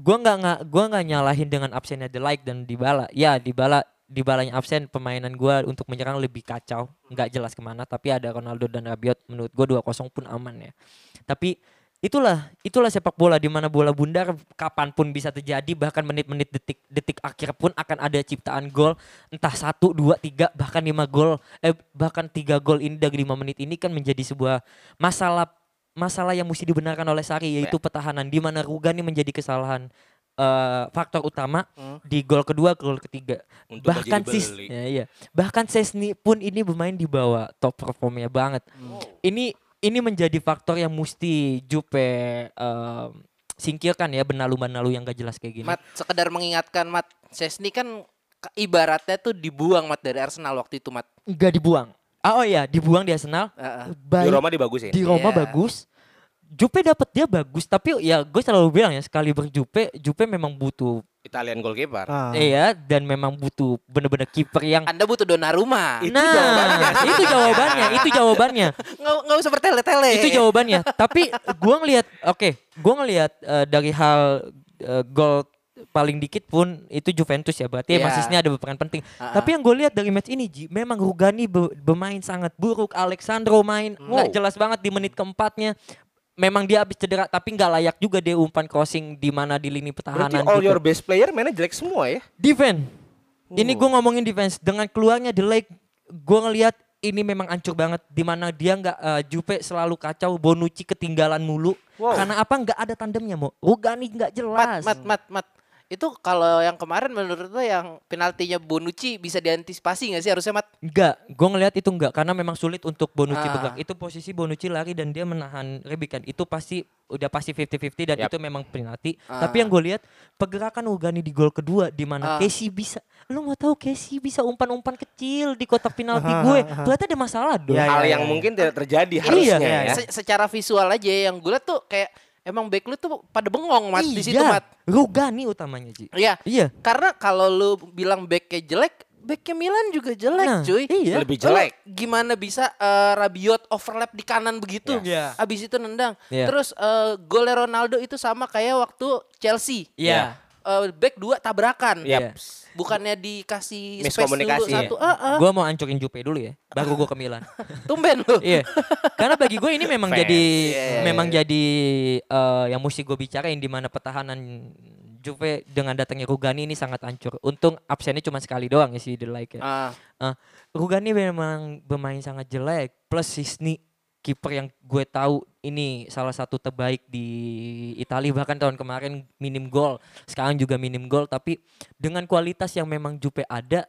Gua nggak nggak gua nggak nyalahin dengan absennya The Like dan Dybala. Ya, Dybala Dybalanya absen, pemainan gua untuk menyerang lebih kacau, nggak jelas kemana. Tapi ada Ronaldo dan Rabiot, menurut gua 2-0 pun aman ya. Tapi itulah itulah sepak bola di mana bola bundar kapanpun bisa terjadi bahkan menit-menit detik detik akhir pun akan ada ciptaan gol entah satu dua tiga bahkan lima gol eh bahkan tiga gol ini dari lima menit ini kan menjadi sebuah masalah masalah yang mesti dibenarkan oleh Sari yaitu pertahanan di mana Rugani menjadi kesalahan eh, faktor utama di gol kedua gol ketiga Untung gak bahkan jadi sis beli. ya, iya. bahkan Sesni pun ini bermain di bawah top performnya banget ini ini menjadi faktor yang mesti Jupe em, singkirkan ya benalu-benalu yang gak jelas kayak gini Mat, sekedar mengingatkan Mat, Sesni kan ke- ibaratnya tuh dibuang Mat dari Arsenal waktu itu Mat. nggak dibuang ah, oh iya dibuang di Arsenal Heeh. Di Baik- Roma dibagusin. di Roma Iya. bagus. Jupe dapat dia bagus, tapi ya gue selalu bilang ya sekali berjupe, Jupe memang butuh Italian goalkeeper. Ah. iya dan memang butuh bener-bener kiper yang Anda butuh Donnarumma. Itu nah jawabannya. itu jawabannya, itu jawabannya, Nggak nggak usah bertele-tele. itu jawabannya. tapi gue ngelihat, oke, gue ngelihat eh, dari hal eh, gol paling dikit pun itu Juventus ya berarti Iya. masisnya ada berperan penting. Ah, Tapi yang gue lihat dari match ini Ji, memang Rugani be- bermain sangat buruk. Alexandro main nggak jelas banget di menit keempatnya. memang dia habis cedera tapi nggak layak juga dia umpan crossing di mana di lini Berarti pertahanan all gitu. your best player mainnya jelek semua ya? Defense. Ini gue ngomongin defense dengan keluarnya The Lake, gue ngelihat ini memang ancur banget di mana dia nggak eh, Jupe selalu kacau, Bonucci ketinggalan mulu. Wow. Karena apa? Nggak ada tandemnya mau. Rugani nggak jelas. Mat, mat, mat. Itu kalau yang kemarin menurut lo yang penaltinya Bonucci bisa diantisipasi nggak sih harusnya Mat? Enggak, gue ngelihat itu enggak karena memang sulit untuk Bonucci Ah. bergerak. Itu posisi Bonucci lari dan dia menahan Rebikan. Itu pasti udah pasti 50-50 dan Yap. itu memang penalti. Ah. Tapi yang gue lihat pergerakan Ugani di gol kedua di Ah. mana Casey bisa lu mau tahu Casey bisa umpan-umpan kecil di kotak penalti gue. Berarti ada masalah Iya, dong. Ya, ya, Hal ya, yang ya. mungkin tidak terjadi harusnya iya, ya. Se- secara visual aja ya, yang gue liat tuh kayak emang back lu tuh pada bengong Mat di situ Iya, Mat. Rugani utamanya, Ji. Iya. Iya. Karena kalau lu bilang backnya jelek, backnya Milan juga jelek Nah, cuy. iya. Lebih jelek. Lu gimana bisa eh, Rabiot overlap di kanan begitu? Iya. Abis itu nendang. Iya. Terus eh, golnya Ronaldo itu sama kayak waktu Chelsea. Iya. Eh, back dua tabrakan. Yap. Iya. Bukannya dikasih space dulu Miskomunikasi, ya. satu. Ah, ah. Gue mau ancurin Jupe dulu ya, baru gue ke Milan. Tumben lu. Iya. Karena bagi gue ini memang Fans. jadi Iya, iya, memang jadi eh, yang mesti gue bicarain di mana pertahanan Juve dengan datangnya Rugani ini sangat hancur. Untung absennya cuma sekali doang ya si The Like ya. Ah, Eh, Rugani memang bermain sangat jelek plus Sisni kiper yang gue tahu ini salah satu terbaik di Italia bahkan tahun kemarin minim gol sekarang juga minim gol tapi dengan kualitas yang memang Jupe ada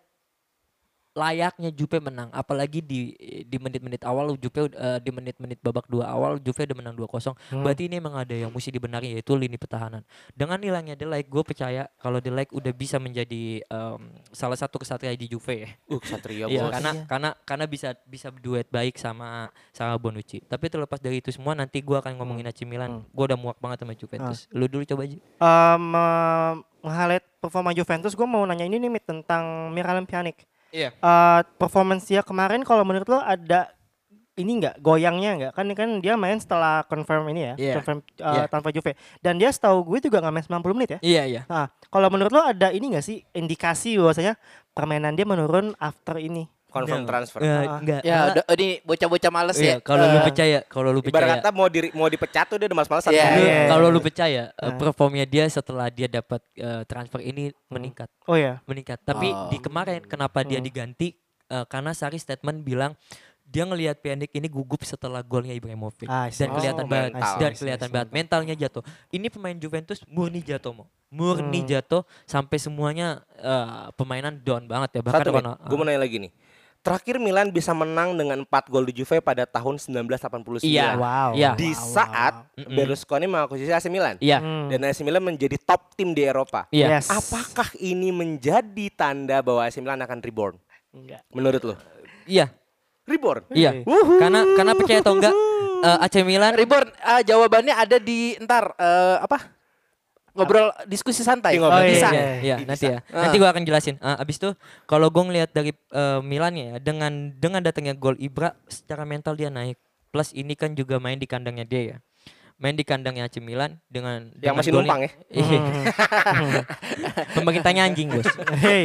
layaknya Juve menang apalagi di di menit-menit awal Juve eh, di menit-menit babak dua awal Juve udah menang 2-0 berarti ini emang ada yang mesti dibenarin yaitu lini pertahanan dengan hilangnya De Ligt gue percaya kalau De Ligt udah bisa menjadi em, salah satu kesatria di Juve ya Uh, Satria Iya, bos. karena karena karena bisa bisa duet baik sama sama Bonucci tapi terlepas dari itu semua nanti gue akan Hmm. ngomongin AC Milan gue udah muak banget sama Juventus Ah. lu dulu coba aja Um, highlight performa Juventus, gue mau nanya ini nih Mit, tentang Miralem Pjanic. Iya. Eh, performance dia kemarin kalau menurut lo ada ini nggak goyangnya nggak kan kan dia main setelah confirm ini ya Iya. confirm eh, Iya. tanpa Juve dan dia setahu gue juga nggak main 90 menit ya iya iya Nah, kalau menurut lo ada ini nggak sih indikasi bahwasanya permainan dia menurun after ini Confirm Iya. transfer. enggak ya Karena- udah ini bocah-bocah males Nah. Iya, ya. kalau lu Eh, percaya kalau lu Ibarat percaya kata mau di mau dipecat tuh dia udah males-malesan. Iya, Lu- Iya. iya. kalau lu percaya eh, Ah. performnya dia setelah dia dapat eh, transfer ini meningkat oh ya meningkat tapi di kemarin kenapa dia Hmm. diganti Eh, karena Sari statement bilang dia ngelihat Pjanic ini gugup setelah golnya Ibrahimovic Ah, I see. dan Oh, kelihatan banget mental. dan I see, I kelihatan see. banget mentalnya jatuh ini pemain Juventus murni jatuh mau murni Hmm. jatuh sampai semuanya eh, pemainan down banget ya bahkan Satu Ronald- gue mau nanya lagi nih. Terakhir Milan bisa menang dengan 4 gol di Juve pada tahun 1989. Iya. wow Iya. Di wow, saat wow. Mm-mm. Berlusconi mengakuisisi AC Milan. iya Hmm. Dan AC Milan menjadi top tim di Eropa. iya Yes. Apakah ini menjadi tanda bahwa AC Milan akan reborn? Enggak. Menurut lo? iya Reborn? iya Wuhu. karena karena percaya atau enggak eh, AC Milan Reborn ah, jawabannya ada di ntar eh, apa? Ngobrol diskusi santai. Di ngobrol. Oh, iya, Bisa. iya. Iya, nanti ya. Nanti gua akan jelasin. Ah, abis itu kalau gue ngelihat dari eh, Milan ya dengan dengan datangnya gol Ibra secara mental dia naik. Plus ini kan juga main di kandangnya dia ya. Main di kandangnya AC Milan dengan Yang dengan masih golnya- numpang ya? Hmm. Iya. Pemerintahnya anjing, Bos. hey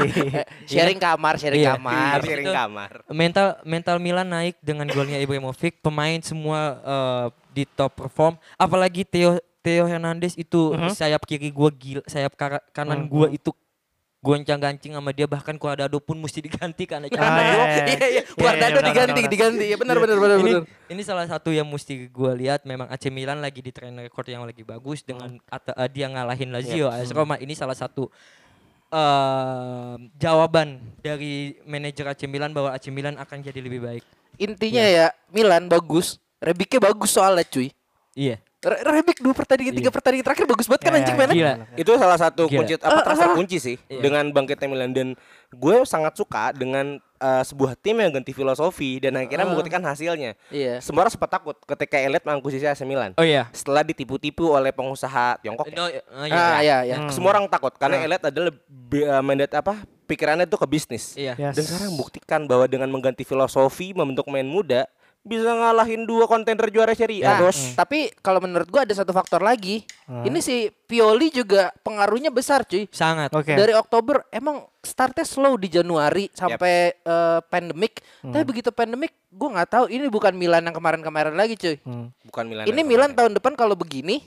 Sharing kamar, sharing Iya. kamar. Iya. Sharing itu- kamar. Mental mental Milan naik dengan golnya Ibrahimovic, pemain semua eh, di top perform, apalagi Theo Theo Hernandez itu sayap kiri gua gila, sayap kara- kanan gua itu goncang-gancing sama dia bahkan Cuadrado pun mesti diganti Ah, karena Cuadrado- iya, Iya iya, Iya, iya, Guardado benar, diganti, benar, diganti. Ya benar benar benar ini, benar. ini salah satu yang mesti gue lihat memang AC Milan lagi di train record yang lagi bagus dengan at- eh, dia ngalahin Lazio AS Roma ini salah satu eh, jawaban dari manajer AC Milan bahwa AC Milan akan jadi lebih baik. Intinya ya Milan bagus, Rebiknya bagus soalnya cuy. Iya. Re- Rebik dua pertandingan, tiga pertandingan terakhir bagus banget kan Iya, anjing iya, mainnya. Gila. Itu salah satu Gila. kunci apa transfer kunci sih Iya. dengan bangkitnya Milan dan gue sangat suka dengan eh, sebuah tim yang ganti filosofi dan akhirnya membuktikan hasilnya. Uh. Iya. Semua orang sempat takut ketika Elliot mengakuisisi AC Milan. Oh iya. Setelah ditipu-tipu oleh pengusaha Tiongkok. ya? No, eh, eh, iya. Ah ya ya. Semua orang takut karena Elliot adalah bi- eh, mandat apa? Pikirannya tuh ke bisnis. Iya. Yes. Dan sekarang membuktikan bahwa dengan mengganti filosofi, membentuk main muda, bisa ngalahin dua kontender juara Serie A, Nah, Bos. tapi kalau menurut gua ada satu faktor lagi. Ini si Pioli juga pengaruhnya besar, cuy. Sangat. Oke. Dari Oktober emang startnya slow di Januari sampai eh, pandemic. Tapi begitu pandemic, gua nggak tahu ini bukan Milan yang kemarin-kemarin lagi, cuy. Bukan Milan. Ini yang Milan kemarin. tahun depan kalau begini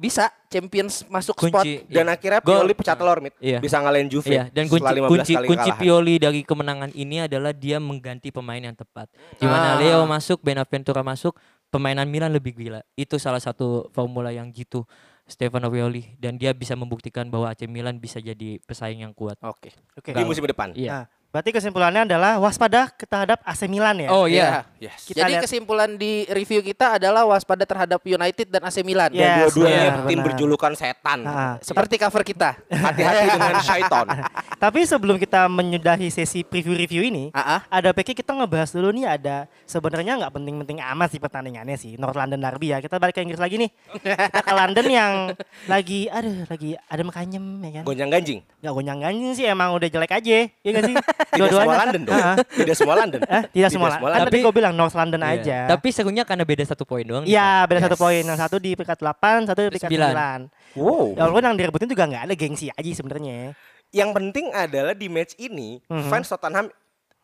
bisa Champions masuk spot. Kunci. dan Iya. akhirnya Gol. Pioli pecah telur, Mit. Iya. Bisa ngalahin Juve. Iya, dan kunci setelah 15 kunci kali kunci kekalahan. Pioli dari kemenangan ini adalah dia mengganti pemain yang tepat. Di mana Ah. Leo masuk, Benaventura masuk, pemainan Milan lebih gila. Itu salah satu formula yang gitu Stefano Pioli dan dia bisa membuktikan bahwa AC Milan bisa jadi pesaing yang kuat. Oke. Oke. di musim depan. Iya. Nah, berarti kesimpulannya adalah waspada terhadap AC Milan ya. Oh iya. Yes. Kita Jadi lihat- kesimpulan di review kita adalah waspada terhadap United dan AC Milan. Iya. Yes, Dua-duanya benar, tim benar. berjulukan setan. Ah. Seperti cover kita. Hati-hati dengan Shaiton. Tapi sebelum kita menyudahi sesi preview-review ini, Ah, ah. ada PK kita ngebahas dulu nih ada sebenarnya nggak penting-penting amat sih pertandingannya sih North London Derby ya. Kita balik ke Inggris lagi nih. Kita ke London yang lagi aduh lagi ada makanyem ya kan. Gonjang ganjing. Gak gonyang ganjing sih emang udah jelek aja. Iya gak sih? Tidak semua London dong. Ah, ah. Tidak semua London. Eh, tidak semua lah. Kan tadi Tapi- gue bilang North London Iya. aja. Tapi serunya karena beda satu poin doang. nih, Pak. Iya, beda satu poin. Yang satu di peringkat 8, satu di peringkat Sembilan. 9. Oh. Wow. Ya walaupun yang direbutin juga nggak ada gengsi aja sebenarnya. Yang penting adalah di match ini Mhm. fans Tottenham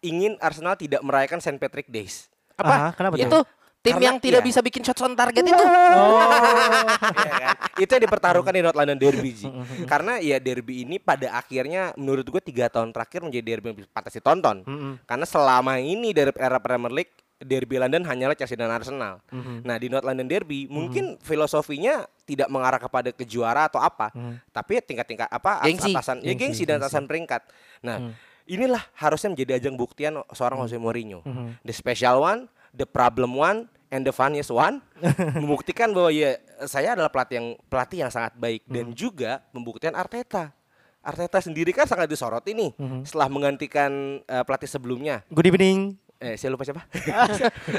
ingin Arsenal tidak merayakan St Patrick Days. Iya. Apa? Ah, kenapa tuh? itu tim Karena yang tidak iya. bisa bikin shots on target itu. Oh. Iya kan? Itu yang dipertaruhkan di North London Derby Ji. Mhm. Karena ya derby ini pada akhirnya menurut gue tiga tahun terakhir menjadi derby yang pantas ditonton. Mm-mm. Karena selama ini dari era Premier League derby London hanyalah Chelsea dan Arsenal. Nah di North London Derby mungkin filosofinya tidak mengarah kepada kejuara atau apa, tapi ya tingkat-tingkat apa atas- Gengsi. atasan ya gengsi, dan atasan peringkat. Nah inilah harusnya menjadi ajang buktian seorang Jose Mourinho, the special one, the problem one, and the funniest one, membuktikan bahwa ya saya adalah pelatih yang pelatih yang sangat baik dan juga membuktikan Arteta. Arteta sendiri kan sangat disorot ini setelah menggantikan eh, pelatih sebelumnya. Good evening. Eh, saya lupa siapa?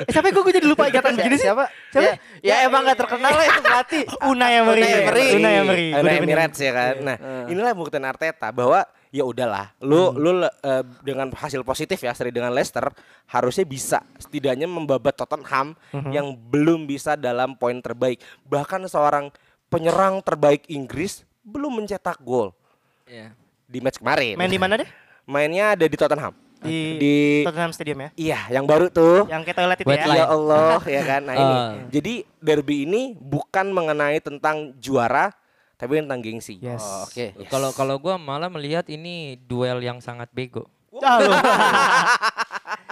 Eh, siapa gue jadi lupa ingatan begini sih? Siapa? Siapa? Ya, ya emang gak terkenal lah itu pelatih. Unai Emery. Unai Emery. Unai Emery. Ada Good evening. Iya, Emirates ya Iya. kan. Nah, inilah buktian Arteta bahwa ya udahlah, lu Hmm. lu eh, dengan hasil positif ya seri dengan Leicester harusnya bisa setidaknya membabat Tottenham Hmm. yang belum bisa dalam poin terbaik. Bahkan seorang penyerang terbaik Inggris belum mencetak gol Iya. di match kemarin. Main di mana deh? Mainnya ada di Tottenham. Di, Di- Tottenham Stadium ya. Iya, yang baru tuh. Yang ke toilet itu Wet ya. line. Ya Allah ya kan. Nah ini. Ah. Jadi derby ini bukan mengenai tentang juara tapi tentang gengsi. Yes. Oh, Oke. Kalau kalau gua malah melihat ini duel yang sangat bego. Ah, lu.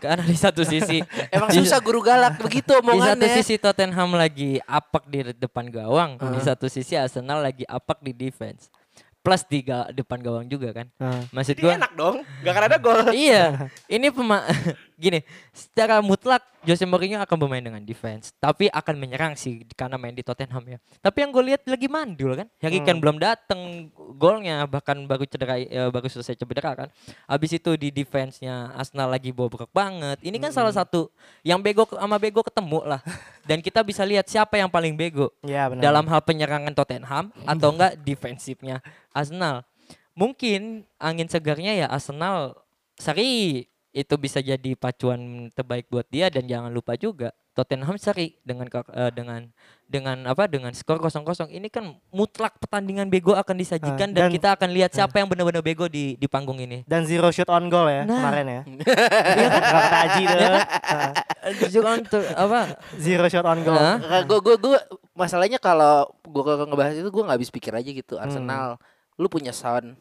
Karena di satu sisi Emang di- susah guru galak begitu Di satu omongannya. sisi Tottenham lagi apak di depan gawang, di satu sisi Arsenal lagi apak di defense. Plus di ga- depan gawang juga kan. Maksud Jadi gua gitu ya enak dong. Gak akan ada gol. Iya, ini pema gini, secara mutlak Jose Mourinho akan bermain dengan defense, tapi akan menyerang sih karena main di Tottenham ya. Tapi yang gue lihat lagi mandul kan. Harry Kane belum datang golnya bahkan baru cedera eh, baru selesai cedera kan. Habis itu di defense-nya Arsenal lagi bobrok banget. Ini kan salah satu yang bego ke- sama bego ketemu lah. Dan kita bisa lihat siapa yang paling bego Iya benar. dalam hal penyerangan Tottenham atau enggak defensifnya Arsenal. Mungkin angin segarnya ya Arsenal seri itu bisa jadi pacuan terbaik buat dia dan jangan lupa juga Tottenham seri dengan ke- eh, dengan dengan apa dengan skor 0-0 ini kan mutlak pertandingan bego akan disajikan dan, dan- kita akan lihat siapa yang benar-benar bego di di panggung ini. dan zero shot on goal ya Nah. kemarin ya. Iya kan? Gak kata Aji tuh. Iya. Ah, Juga untuk apa? Zero shot on goal. Hah? Gue gue gue masalahnya kalau gue ngebahas itu gue nggak habis pikir aja gitu. Hmm. Arsenal, lu punya Son,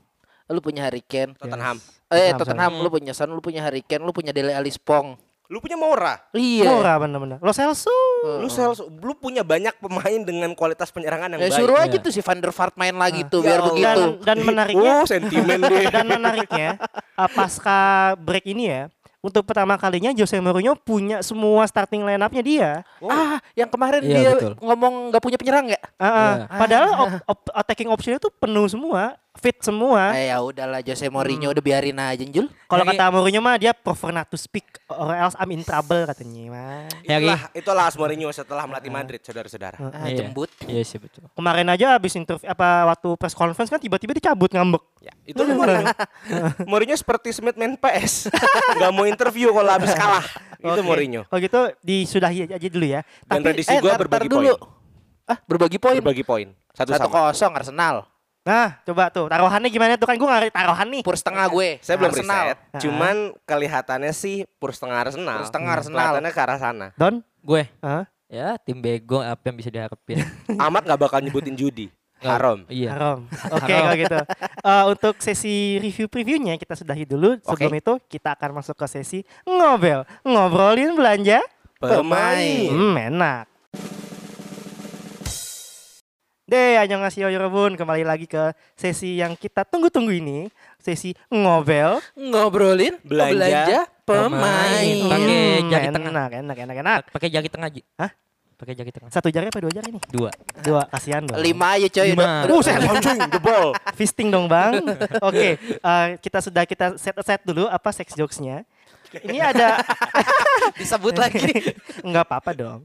lu punya Harry Kane. Tottenham. Eh Tottenham, Tottenham, lu punya Son, lu punya Harry Kane, lu punya Dele Alli Spong. Lu punya Moura. Iya. Murah bener-bener. Lo Celso. Lu sales, lu punya banyak pemain dengan kualitas penyerangan yang Ya baik. suruh aja Iya. tuh si Van der Vaart main lagi tuh Ya biar Allah. begitu. Dan, dan menariknya Oh, sentimen deh. Nah, dan menariknya eh, pasca break ini ya untuk pertama kalinya Jose Mourinho punya semua starting line up-nya dia. Ah, yang kemarin Iya, dia betul. ngomong nggak punya penyerang ya? Ah, ah. Iya. Padahal op- op- attacking option itu penuh semua. fit Nah, semua. Eh, ya udahlah Jose Mourinho udah biarin aja Jul. Kalau Jadi- kata Mourinho mah dia prefer not to speak or else I'm in trouble katanya. Mah. Nyari. Itulah, itulah As Mourinho setelah melatih Madrid, saudara-saudara. Ah, Iya. jembut. Iya sih betul. Kemarin aja habis interview apa waktu press conference kan tiba-tiba dicabut ngambek. Ya, itu Mourinho. Mourinho seperti Smith main PS. Gak mau interview kalau habis kalah. Itu Oke. Mourinho. Kalau gitu disudahi aja dulu ya. Dan prediksi eh, gue ntar- ntar berbagi dulu. poin. Ah, berbagi poin. Berbagi poin. Satu, Satu sama. kosong Arsenal. Nah, coba tuh taruhannya gimana tuh kan gue ngerti taruhan nih. Pur setengah gue. Saya belum Arsenal. riset. Cuman kelihatannya sih pur setengah Arsenal. Hmm, Pur setengah Arsenal. Kelihatannya ke arah sana. Don, Gue Hah? ya tim bego apa yang bisa diharapin. Amat gak bakal nyebutin judi. Haram. Iya. Haram. Oke kalau gitu. Eh, untuk sesi review previewnya kita sudahi dulu. Sebelum itu kita akan masuk ke sesi ngobel, ngobrolin belanja. Iya. Pemain. Hmm, enak. Deh, annyeonghaseyo yorobun. Kembali lagi ke sesi yang kita tunggu-tunggu ini. Sesi ngobel. Ngobrolin Belanja pemain. Hmm, Pakai Iya. jari enak, tengah. enak, enak, enak. Pakai jari tengah. Ji. Hah? Pakai jari tengah. Satu jari apa dua jari nih? Dua. Dua, kasihan dong. Iya. Lima aja coy. Lima. Udah- udah- Buset, anjing, jebol. Fisting dong bang. Oke, eh, kita sudah kita set set dulu apa sex jokesnya. Ini Eh. ada disebut lagi. nggak apa-apa dong.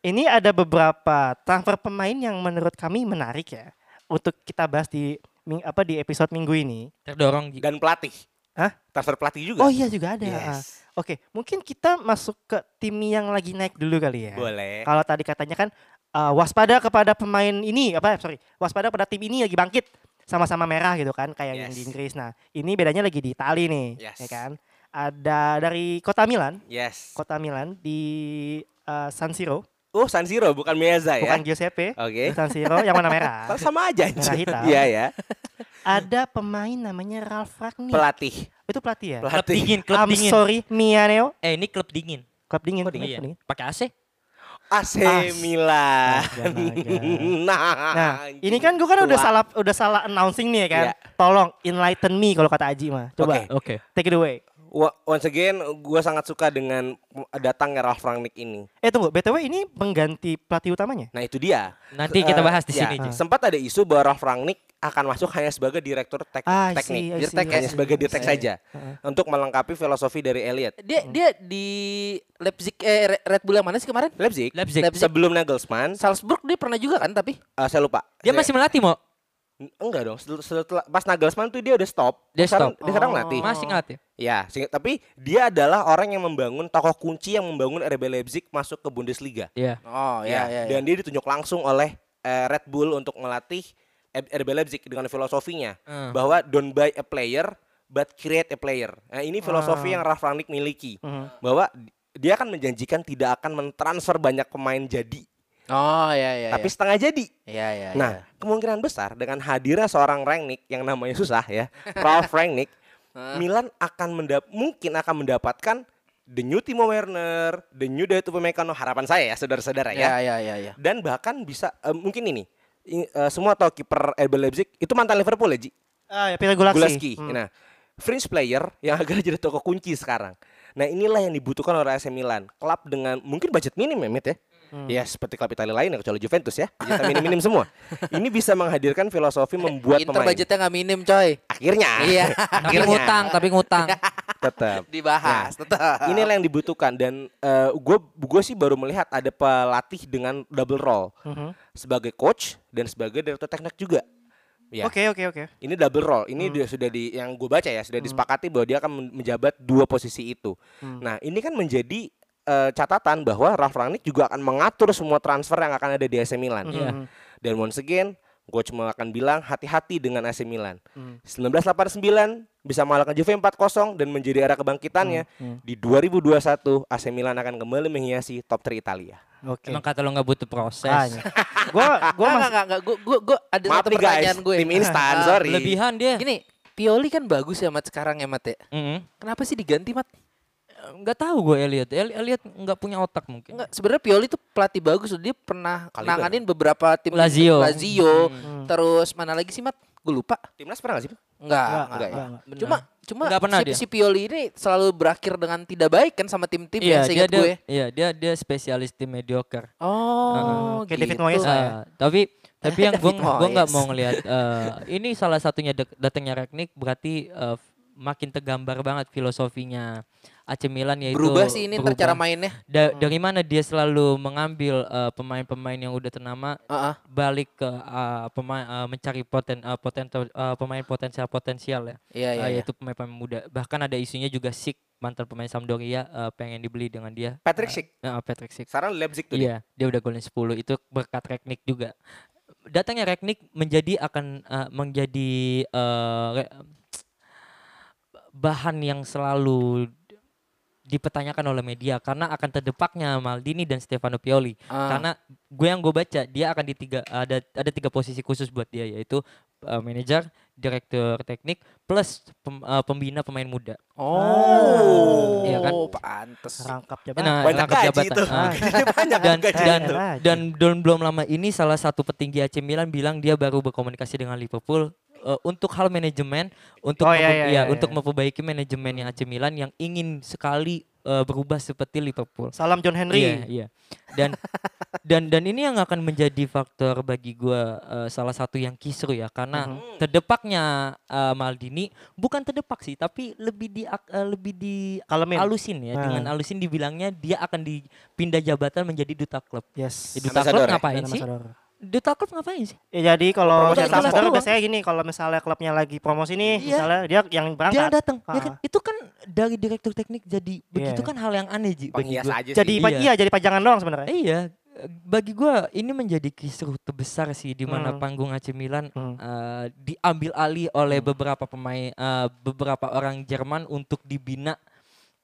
Ini ada beberapa transfer pemain yang menurut kami menarik ya untuk kita bahas di ming- apa di episode minggu ini. Terdorong. Ji. Dan pelatih. Hah? Transfer pelatih juga. Oh iya juga ada. Ah, Yes. Oke, mungkin kita masuk ke tim yang lagi naik dulu kali ya. Boleh. Kalau tadi katanya kan uh, waspada kepada pemain ini apa sorry waspada pada tim ini lagi bangkit sama-sama merah gitu kan kayak yang Yes. di Inggris. Nah ini bedanya lagi di Itali nih, Yes. ya kan? Ada dari kota Milan, Yes. kota Milan di uh, San Siro, Oh, San Siro bukan Meazza ya. bukan Giuseppe, Oke. San Siro yang warna merah. Sama aja Merah anjing. hitam. Iya ya. Ada pemain namanya Ralf Ragnik. Pelatih. Itu pelatih ya? Klub Pelatih. dingin, klub I'm dingin. sorry, Mianeo. Eh ini klub dingin. Klub dingin. Oh, iya. klub dingin. Pakai AC. AC As- Milan. Astaga. nah, Ah, Nah, anjing. ini kan gue kan udah Tua. salah udah salah announcing nih ya kan. Iya. Tolong enlighten me kalau kata Aji mah. Coba Oke. take it away. Wa- Once again, gue sangat suka dengan datangnya Ralf Rangnick ini. Eh tunggu, BTW ini pengganti pelatih utamanya? Nah itu dia. Nanti kita Eh, bahas di ya, sini. Ji. Sempat ada isu bahwa Ralf Rangnick akan masuk hanya sebagai direktur tek- Ah, I see, teknik, I see, Dirtek I hanya see. sebagai dirtek saja, untuk melengkapi filosofi dari Elliot. Dia dia di Leipzig eh Re- Red Bull yang mana sih kemarin? Leipzig, Leipzig. Leipzig. sebelum Nagelsmann, Salzburg dia pernah juga kan tapi eh, saya lupa. Dia Saya- masih melatih mau? enggak dong. setel- Setelah, pas Nagelsmann tuh dia udah stop. Dia sekarang, stop. Oh, Dia sekarang latih. Masih ngelatih. Ya, sing- tapi dia adalah orang yang membangun tokoh kunci yang membangun RB Leipzig masuk ke Bundesliga. Iya. Oh ya, dan dia ditunjuk langsung oleh eh, Red Bull untuk melatih eh, RB Leipzig dengan filosofinya Hmm. bahwa don't buy a player but create a player. Nah, ini Hmm. filosofi yang Ralf Rangnick miliki bahwa dia akan menjanjikan tidak akan mentransfer banyak pemain jadi, Iya, Oh ya ya. tapi setengah jadi. ya ya. Nah, kemungkinan besar dengan hadirnya seorang Rangnick yang namanya susah ya, Ralf Rangnick, Hmm. Milan akan mendap mungkin akan mendapatkan the new Timo Werner, the new Daito Upamecano harapan saya ya saudara-saudara ya Iya, ya ya ya. dan bahkan bisa eh, mungkin ini i- eh, semua tahu kiper RB Leipzig itu mantan Liverpool ya Ji Ah, ya Peter Gulakski. Gulaski Hmm. nah fringe player yang akhirnya jadi tokoh kunci sekarang nah inilah yang dibutuhkan oleh AC Milan klub dengan mungkin budget minim ya Mit ya Ya seperti klub Italia lain ya, kecuali Juventus ya Budgetnya minim-minim semua Ini bisa menghadirkan filosofi membuat Inter pemain budgetnya nggak minim coy. Akhirnya Iya. Tapi ngutang, tapi ngutang. Tetap Dibahas Nah. tetap. Inilah Ya. yang dibutuhkan dan gue gue sih baru melihat ada pelatih dengan double role Mm-hmm. Mhm. sebagai coach dan sebagai direktur teknik juga. iya. Oh, Ya, Oke, oke, oke. ini double role. Ini dia sudah di yang gue baca ya sudah disepakati bahwa dia akan men- menjabat dua posisi itu. Nah, ini kan menjadi eh, catatan bahwa Ralf Rangnick juga akan mengatur semua transfer yang akan ada di AC Milan. Iya. Dan once again, gue cuma akan bilang hati-hati dengan AC Milan. 1989 bisa mengalahkan Juve 4-0 dan menjadi era kebangkitannya. Di 2021 AC Milan akan kembali menghiasi top 3 Italia. Oke. Emang kata lo nggak butuh proses. Tanya. Gua gua Gua masih enggak enggak gua gua gua ada Maaf satu nih guys, pertanyaan gue. tim instan, Ah, sorry. Lebihan dia. Gini, Pioli kan bagus ya Mat sekarang ya Mat ya. Mm-mm. Kenapa sih diganti Mat? nggak tahu gue Elliot. Eli- Elliot nggak punya otak mungkin. Enggak, sebenarnya Pioli tuh pelatih bagus. Dia pernah Kali nanganin beberapa tim Lazio. Lazio. Terus mana lagi sih Mat? Gue lupa. Timnas pernah gak sih? Enggak, Enggak, enggak, enggak, ya. enggak. Cuma cuma Enggak pernah si, dia. si Pioli ini selalu berakhir dengan tidak baik kan sama tim-tim Iya, ya dia, seingat dia, gue. iya, dia dia spesialis tim mediocre. Oh, Kayak David gitu. Nah, Moyes lah ya. Ah, Eh, tapi Tapi yang gue David gua nggak Moyes. mau ngelihat eh, ini salah satunya dek- datangnya Ragnik berarti eh, f- makin tergambar banget filosofinya AC Milan yaitu berubah sih ini ntar berubah. cara Hmm. mainnya. Da- dari mana dia selalu mengambil eh, pemain-pemain yang udah ternama Heeh. balik ke eh, pemain eh, mencari poten eh, potento- eh, pemain potensial potensial ya Iya iya. Eh, iya. yaitu pemain-pemain muda bahkan ada isunya juga Sik mantan pemain Sampdoria eh, pengen dibeli dengan dia Patrick Schick. Eh, Patrick Sik Sekarang Leipzig tuh. dia. Iya, dia udah golin 10 itu berkat Reknik juga. Datangnya Reknik menjadi akan eh, menjadi eh, re- bahan yang selalu dipertanyakan oleh media karena akan terdepaknya Maldini dan Stefano Pioli. Ah. Karena gue yang gue baca dia akan di tiga ada ada tiga posisi khusus buat dia yaitu eh, manajer, direktur teknik plus pem- eh, pembina pemain muda. Oh, Iya kan? pantes. Rangkapnya banget. Eh, Nah, Banyak rangkap gaji jabatan. itu. Ah Banyak dan gaji dan itu. Aja. dan dan belum lama ini salah satu petinggi AC Milan bilang dia baru berkomunikasi dengan Liverpool eh, untuk hal manajemen untuk Oh, iya, mempe- iya, ya, iya, untuk iya. memperbaiki manajemennya AC Milan yang ingin sekali eh, berubah seperti Liverpool. Salam John Henry. Iya, iya. Dan dan dan ini yang akan menjadi faktor bagi gua eh, salah satu yang kisru ya karena Mhm. terdepaknya eh, Maldini bukan terdepak sih tapi lebih di eh, lebih di Kalemin. alusin ya Ah. dengan alusin dibilangnya dia akan dipindah jabatan menjadi duta klub. Yes. Eh, duta klub Ambassador ya? ngapain Dan sih? ambassador. Duta klub ngapain sih? Ya jadi kalau Promosi ambassador kelas doang. biasanya gini kalau misalnya klubnya lagi promosi nih, Iya. misalnya dia yang Dia berangkat. datang, ya kan? Itu kan dari direktur teknik jadi begitu Iya. kan hal yang aneh Ji, bagi Penghias gua. aja sih. Jadi Iya. pa- iya. jadi pajangan doang sebenarnya. Iya, bagi gua ini menjadi kisruh terbesar sih di Hmm. mana panggung AC Milan Hmm. eh, diambil alih oleh beberapa pemain eh, beberapa orang Jerman untuk dibina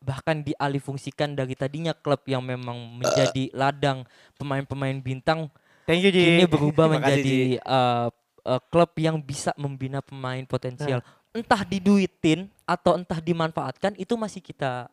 bahkan dialihfungsikan dari tadinya klub yang memang menjadi ladang pemain-pemain bintang Thank you Ji. kini berubah Terima kasih, menjadi eh, eh, klub yang bisa membina pemain potensial. Nah. Entah diduitin atau entah dimanfaatkan itu masih kita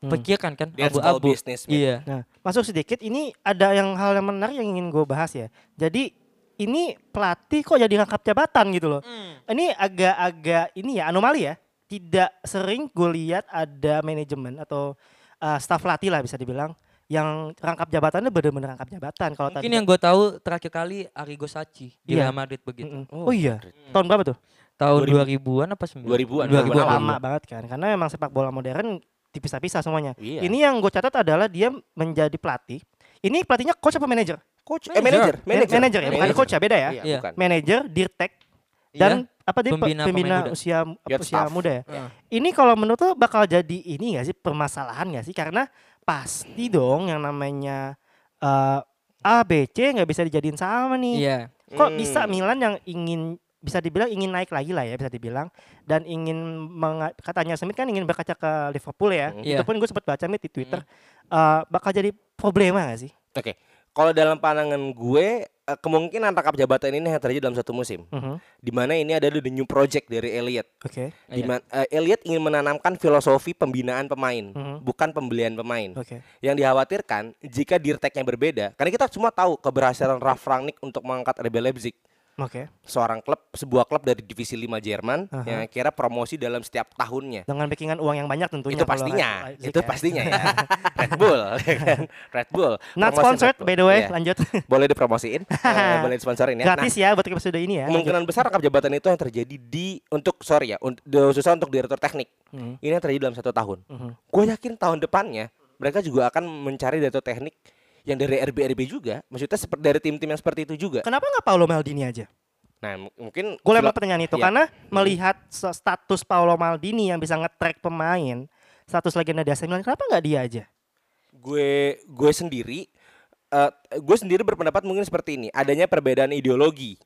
pikirkan kan That's all abu-abu. Hmm. business, man. Iya. Nah, masuk sedikit ini ada yang hal yang menarik yang ingin gue bahas ya. Jadi ini pelatih kok jadi rangkap jabatan gitu loh. Ini agak-agak ini ya anomali ya. Tidak sering gue lihat ada manajemen atau uh, staff latih lah bisa dibilang yang rangkap jabatannya benar-benar rangkap jabatan kalau Mungkin kan. tadi- yang gue tahu terakhir kali Arrigo Sacchi di Iya. Real Madrid begitu. Mm-mm. Oh, iya. Tahun berapa tuh? Tahun 2000-an apa 9? 2000-an. Lama banget kan. Karena memang sepak bola modern dipisah-pisah semuanya. Iya. Ini yang gue catat adalah dia menjadi pelatih. Ini pelatihnya coach apa manajer? Coach, eh manager, manager, Manajer ya, bukan Manager. coach ya, beda ya. Iya, Iya. bukan. manajer dirtek dan apa tadi pe- Pembina pembina, pemain muda. usia apa, Youth usia Iya, staff. muda ya. Ini kalau menurut lo bakal jadi ini gak sih permasalahan gak sih karena pasti dong yang namanya eh, A B C nggak bisa dijadiin sama nih. Iya. Kok Hmm. bisa Milan yang ingin bisa dibilang ingin naik lagi lah ya bisa dibilang dan ingin menga- katanya Smith kan ingin berkaca ke Liverpool ya. Hmm. Iya. Itu pun gue sempat baca Mit, di Twitter Eh, bakal jadi problema gak sih? Oke. Kalau dalam pandangan gue eh, kemungkinan rangkap jabatan ini hanya terjadi dalam satu musim. Mhm. Di mana ini ada the new project dari Elliot. Oke. Di Iya. ma- eh, Elliot ingin menanamkan filosofi pembinaan pemain, Mhm. bukan pembelian pemain. Oke. Yang dikhawatirkan jika dirteknya berbeda, karena kita semua tahu keberhasilan Ralf Rangnick untuk mengangkat RB Leipzig, Oke. seorang klub sebuah klub dari divisi 5 Jerman Aha. yang kira promosi dalam setiap tahunnya. Dengan backingan uang yang banyak tentunya. itu kalau pastinya, Leipzig itu ya. pastinya ya. Red Bull, ya kan? Red Bull. Not Promosi Red sponsored Bull. by the way, Iya. lanjut. Boleh dipromosiin, eh, boleh disponsorin ya. Nah, Gratis ya buat episode ini ya. kemungkinan besar rangkap jabatan itu yang terjadi di untuk sorry ya un- de- susah untuk direktur teknik Mhm. ini yang terjadi dalam satu tahun Mhm. gue yakin tahun depannya mereka juga akan mencari direktur teknik yang dari RB RB juga maksudnya seperti dari tim-tim yang seperti itu juga Kenapa nggak Paolo Maldini aja? nah m- mungkin Gue filo- lempar pertanyaan itu Iya. karena melihat se- status Paolo Maldini yang bisa nge-track pemain, status legenda di AC Milan, kenapa nggak dia aja? gue gue sendiri eh, gue sendiri berpendapat mungkin seperti ini adanya perbedaan ideologi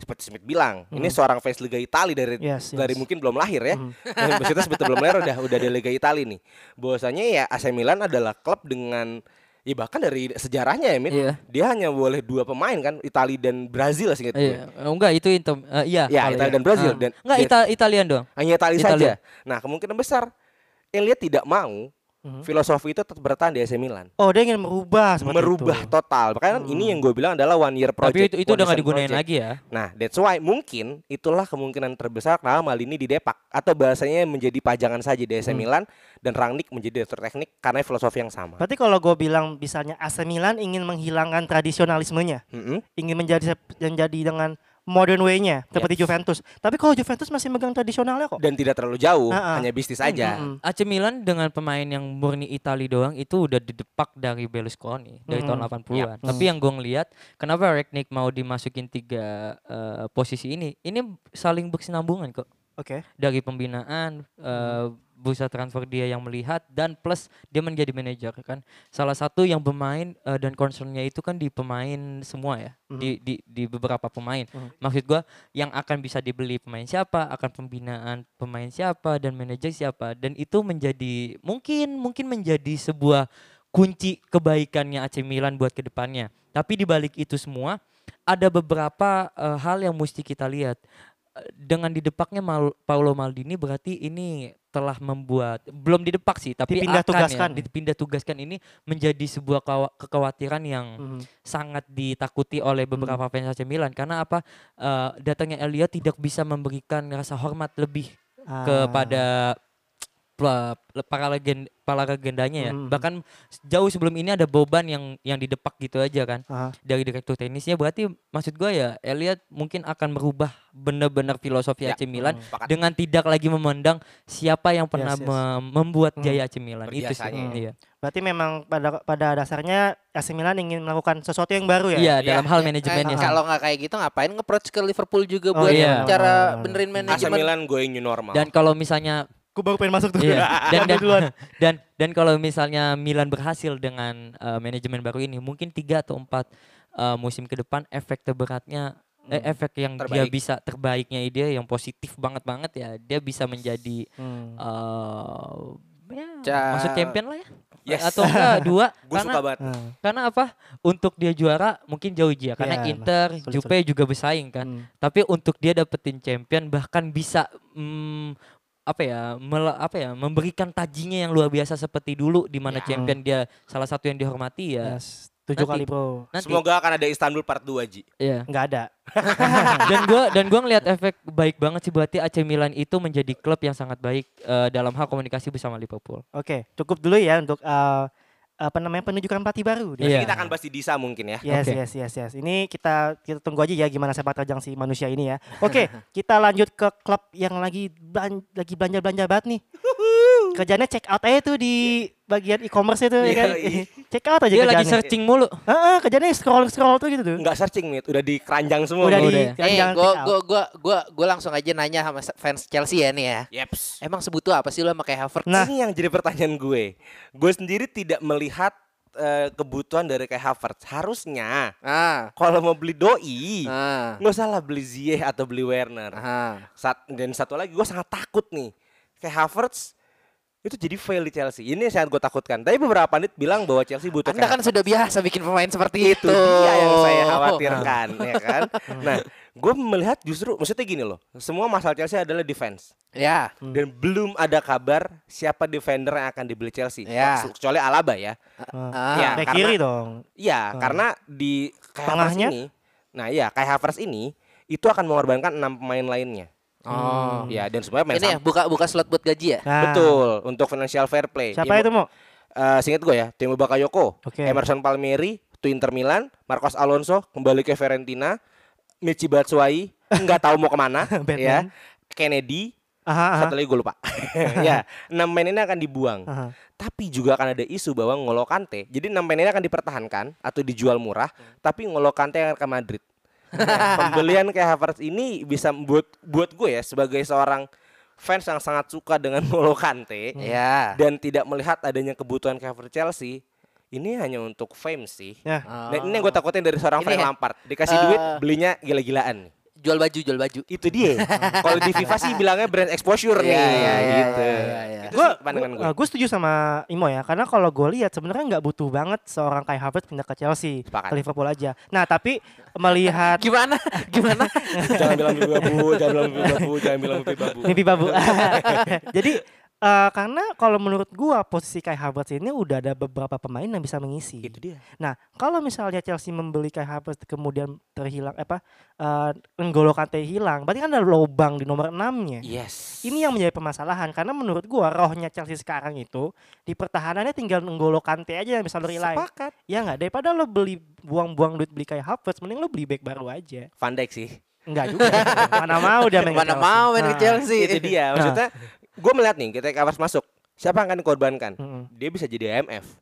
seperti Smith bilang ini Hmm. seorang fans Liga Italia dari Yes, dari yes. mungkin belum lahir ya maksudnya sebetulnya belum lahir udah udah ada Liga Italia nih bahwasanya ya AC Milan adalah klub dengan ya bahkan dari sejarahnya ya Min Iya. dia hanya boleh dua pemain kan Italia dan Brazil seingat gue Iya. Eh, Enggak itu Inter eh, iya. Ya, kalau Italia dan Brazil, Iya. Ah. dan- enggak dan- Ita- Italian doang. hanya Italia Italia. saja nah kemungkinan besar Elliot tidak mau Mhm. Hmm. Filosofi itu tetap bertahan di AC Milan. Oh, dia ingin merubah seperti Merubah itu. total. Makanya kan ini yang gue bilang adalah one year project. Hmm. Tapi itu, itu one udah nggak season digunain project. lagi ya. Nah, that's why mungkin itulah kemungkinan terbesar kenapa Malini di Depak atau bahasanya menjadi pajangan saja di Hmm. AC Milan dan Rangnick menjadi direktur teknik karena filosofi yang sama. Berarti kalau gue bilang misalnya AC Milan ingin menghilangkan tradisionalismenya, Hmm. Mm-mm. ingin menjadi menjadi dengan modern way-nya seperti Yes. Juventus. Tapi kalau Juventus masih megang tradisionalnya kok. Dan tidak terlalu jauh, Ah, ah. hanya bisnis aja. Mm-mm. AC Milan dengan pemain yang murni Itali doang itu udah didepak dari Berlusconi dari tahun Mm. 80-an. Tapi yang gue ngeliat kenapa Ragnik mau dimasukin tiga eh, posisi ini? Ini saling berkesinambungan kok. Oke. Dari pembinaan eh, bursa transfer dia yang melihat dan plus dia menjadi manajer kan. Salah satu yang pemain eh, dan concernnya itu kan di pemain semua ya. Mhm. Di, di di beberapa pemain. Maksud gua yang akan bisa dibeli pemain siapa, akan pembinaan pemain siapa dan manajer siapa dan itu menjadi mungkin mungkin menjadi sebuah kunci kebaikannya AC Milan buat kedepannya. Tapi di balik itu semua ada beberapa eh, hal yang mesti kita lihat. Eh, Dengan didepaknya Mal- Paolo Maldini berarti ini telah membuat belum didepak sih tapi Dipindah akan tugaskan. ya, dipindah tugaskan ini menjadi sebuah kawa- kekhawatiran yang Mhm. sangat ditakuti oleh beberapa fans AC Milan karena apa eh, datangnya Elliot tidak bisa memberikan rasa hormat lebih Ah. kepada pla- para legend para legendanya ya Mhm. bahkan jauh sebelum ini ada Boban yang yang didepak gitu aja kan Aha. dari direktur teknisnya berarti maksud gua ya Elliot mungkin akan merubah benar-benar filosofi Ya, AC Milan sepakat. dengan tidak lagi memandang siapa yang pernah Yes, yes. mem- membuat Hmm. jaya AC Milan itu sih Perhiasannya iya. Berarti memang pada pada dasarnya AC Milan ingin melakukan sesuatu yang baru ya. Iya, Iya, dalam Eh, hal manajemennya sih. Kalau nggak kayak gitu ngapain nge-approach ke Liverpool juga buat Oh, iya. cara Benar, benerin AC manajemen. Eh, Milan going new normal. Nah, dan kalau misalnya Aku baru pengen masuk tuh. Iya. Dan Ambil dan, duluan. dan dan kalau misalnya Milan berhasil dengan eh, manajemen baru ini, mungkin tiga atau empat eh, musim ke depan efek terberatnya, eh, Hmm. efek yang dia Terbaik. bisa terbaiknya dia yang positif banget banget ya, dia bisa menjadi Hmm. eh, ya, Ca- masuk champion lah ya, Yes. atau enggak dua, gue karena suka banget. Hmm. karena apa? Untuk dia juara mungkin jauh dia, karena Iya, nah, Inter, sulit, Juve juga bersaing kan. Hmm. Tapi untuk dia dapetin champion bahkan bisa mm, apa ya mel- apa ya memberikan tajinya yang luar biasa seperti dulu di mana Ya. champion dia salah satu yang dihormati ya. Yes. Tujuh Nanti. kali bro. Nanti Semoga akan ada Istanbul part 2, Ji. ya. Nggak ada. dan gua dan gua ngelihat efek baik banget sih berarti AC Milan itu menjadi klub yang sangat baik eh, dalam hal komunikasi bersama Liverpool. Oke, cukup dulu ya untuk eh, apa namanya penunjukan pelatih baru. Iya. Kita akan bahas di Disa mungkin ya. Yes, Oke. yes, yes, yes. Ini kita kita tunggu aja ya gimana sepak terjang si manusia ini ya. Oke, kita lanjut ke klub yang lagi belan- lagi belanja-belanja banget nih. Kerjanya check out aja tuh di bagian e-commerce itu ya kan. Yoi. check out aja Dia lagi kerjaannya. searching mulu. Heeh, kerjanya scroll-scroll tuh gitu tuh. Enggak searching nih, udah di keranjang semua. Udah udah di ya. Eh, jangan gua check out. gua gua gua gua langsung aja nanya sama se- fans Chelsea ya nih ya. Yeps. Emang sebutuh apa sih lu sama kayak Havertz? Nah. Ini yang jadi pertanyaan gue. Gue sendiri tidak melihat eh, kebutuhan dari kayak Havertz. Harusnya Ah. kalau mau beli doi, Ah. Nah. nggak usah lah beli Ziyech atau beli Werner. Ah. Sat- dan satu lagi gue sangat takut nih. Kayak Havertz itu jadi fail di Chelsea. Ini yang sangat gue takutkan. Tapi beberapa panit bilang bahwa Chelsea butuh kayak Anda kan Havertz. sudah biasa bikin pemain seperti itu. Oh, itu dia yang saya khawatirkan ya kan. Nah, gue melihat justru maksudnya gini loh. Semua masalah Chelsea adalah defense. Iya. Ya. dan belum ada kabar siapa defender yang akan dibeli Chelsea. Ya. Kecuali Alaba ya. Ah, Ah. karena- back kiri dong. Iya, karena di kayak Havertz Tengahnya? ini, nah iya kayak Havertz ini itu akan mengorbankan enam pemain lainnya. Oh. Ya, dan semuanya main Ini ya sama. buka buka slot buat gaji ya. Hmm. Nah, Betul, untuk financial fair play. Siapa itu mau? singkat gue ya, Timo Bakayoko, Oke. Emerson Palmieri, to Inter Milan, Marcos Alonso kembali ke Fiorentina, Michi Batshuayi nggak tahu mau kemana, ya, Batman. Kennedy, Aha, aha, satu lagi gue lupa. ya, enam main ini akan dibuang. aha. Tapi juga akan ada isu bahwa Ngolo Kante. Jadi enam pemain ini akan dipertahankan atau dijual murah, Hmm. tapi Ngolo Kante akan ke Madrid. Nah, pembelian kayak Havertz ini bisa buat buat gue ya sebagai seorang fans yang sangat suka dengan Ngolo Kante Hmm. Ya. dan tidak melihat adanya kebutuhan cover Chelsea. Ini hanya untuk fame sih. Ya. Dan ini yang gue takutin dari seorang Ini Frank ya, Lampard. Dikasih eh, duit belinya gila-gilaan. Jual baju, jual baju. Itu dia. Kalau di FIFA sih bilangnya brand exposure nih. Iya, iya, iya, gitu. iya, iya, iya. Itu Gua- sih pandangan gue. Eh, gue setuju sama Imo ya karena kalau gue lihat sebenarnya nggak butuh banget seorang kayak Harvard pindah ke Chelsea Sepakat. ke Liverpool aja nah tapi melihat Gimana? Gimana? jangan bilang mimpi babu, jangan bilang mimpi babu, jangan bilang mimpi babu. mimpi babu jadi Eh, karena kalau menurut gua posisi Kai Havertz ini udah ada beberapa pemain yang bisa mengisi. Itu gitu dia. Nah, kalau misalnya Chelsea membeli Kai Havertz kemudian terhilang apa eh N'Golo Kante hilang, berarti kan ada lubang di nomor 6-nya. Yes. Ini yang menjadi permasalahan karena menurut gua rohnya Chelsea sekarang itu di pertahanannya tinggal N'Golo Kante aja yang bisa lo rely. sepakat. Ya nggak daripada lo beli buang-buang duit beli Kai Havertz mending lo beli back baru aja. Van Dijk sih. Enggak juga. mana mau dia main ke Mana Chelsea. mau main Nah, ke Chelsea. Itu dia. Maksudnya gue melihat nih ketika Havertz masuk, siapa yang akan dikorbankan? Nah, Mm-mm. Dia bisa jadi IMF.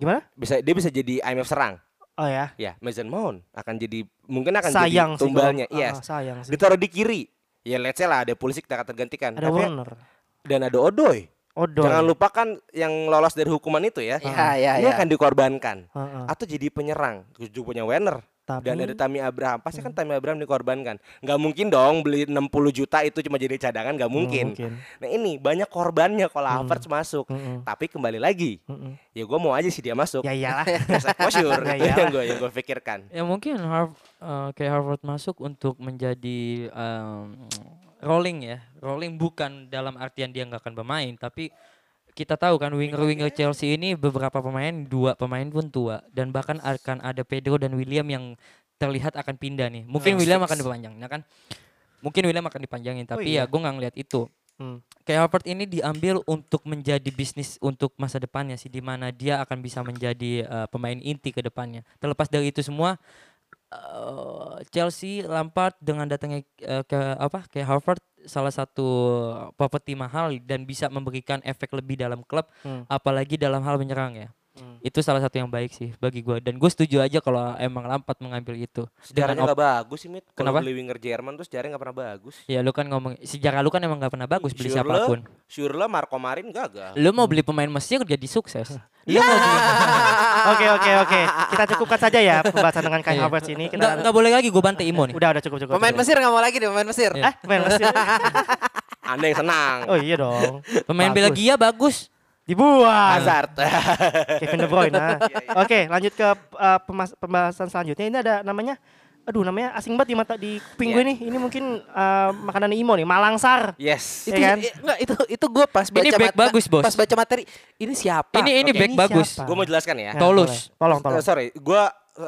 Gimana? Bisa dia bisa jadi IMF serang. Oh ya. Ya, Mason Mount akan jadi mungkin akan sayang jadi tumbalnya. sih. kalau- Yes. ah, sayang sih. Ditaruh di kiri. Ya let's say lah ada Pulisic tak akan tergantikan. Ada Tapi- Warner. dan ada Odoy. Odoi. Jangan lupakan yang lolos dari hukuman itu ya. Ya, ya, Ini ya. akan dikorbankan Heeh. atau jadi penyerang. Juga punya Werner Tapi dan ada Tami Abraham. Pasti kan Tami Abraham dikorbankan. Nggak mungkin dong beli 60 juta itu cuma jadi cadangan nggak mungkin. mungkin. Nah ini banyak korbannya kalau Havertz masuk. Mm-mm. Tapi kembali lagi, Mm-mm. ya gue mau aja sih dia masuk. Ya iyalah. As a exposure, Ya itu yang iyalah. gue yang gue pikirkan. kan? Ya mungkin Harv eh, kayak Harvard masuk untuk menjadi em, rolling ya. Rolling bukan dalam artian dia nggak akan bermain, tapi kita tahu kan winger-winger Chelsea ini beberapa pemain, dua pemain pun tua dan bahkan akan ada Pedro dan William yang terlihat akan pindah nih. Mungkin Hmm. William akan dipanjang, ya kan? Mungkin William akan dipanjangin, tapi iya. ya gue nggak ngeliat itu. Hmm. Kayak Harvard ini diambil untuk menjadi bisnis untuk masa depannya sih, di mana dia akan bisa menjadi eh, pemain inti ke depannya. Terlepas dari itu semua, eh, Chelsea Lampard dengan datangnya eh, ke apa ke Harvard salah satu properti mahal dan bisa memberikan efek lebih dalam klub, Hmm. apalagi dalam hal menyerang ya. Mm. Itu salah satu yang baik sih bagi gue dan gue setuju aja kalau emang Lampard mengambil itu. Sejarahnya Dengan op- nggak bagus sih, Mit. Kalau Kenapa? beli winger Jerman tuh sejarahnya nggak pernah bagus. Ya lu kan ngomong sejarah lu kan emang gak pernah bagus beli Sure lo- siapapun. Sure lah Marco Marin gagal. Lu mau beli pemain Mesir jadi sukses. Lu mau beli Oke oke oke. Kita cukupkan saja ya pembahasan dengan Kai Iya. Havertz ini. Kita nggak nggak boleh lagi gue bantai Imo nih. udah udah cukup cukup. Pemain cukup. Mesir nggak mau lagi deh pemain Mesir. Iya. Eh, pemain Mesir. Anda yang senang. Oh iya dong. Pemain Bagus. Belgia bagus. Dibuang. Hazard. Kevin De Bruyne. nah. Oke, lanjut ke uh, pemas- pembahasan selanjutnya. Ini ada namanya aduh namanya asing banget di mata di kuping gue nih. Ini mungkin uh, makanan Imo nih, Malangsar. yes. Itu Iya kan? i- nggak, itu itu gue pas baca Ya Ini back mata- bagus, Bos. Pas baca materi ini siapa? Ini ini Oke, back ini bagus. siapa? Gue mau jelaskan ya. Ya, Tolus. boleh. Tolong tolong. Eh, sorry, gue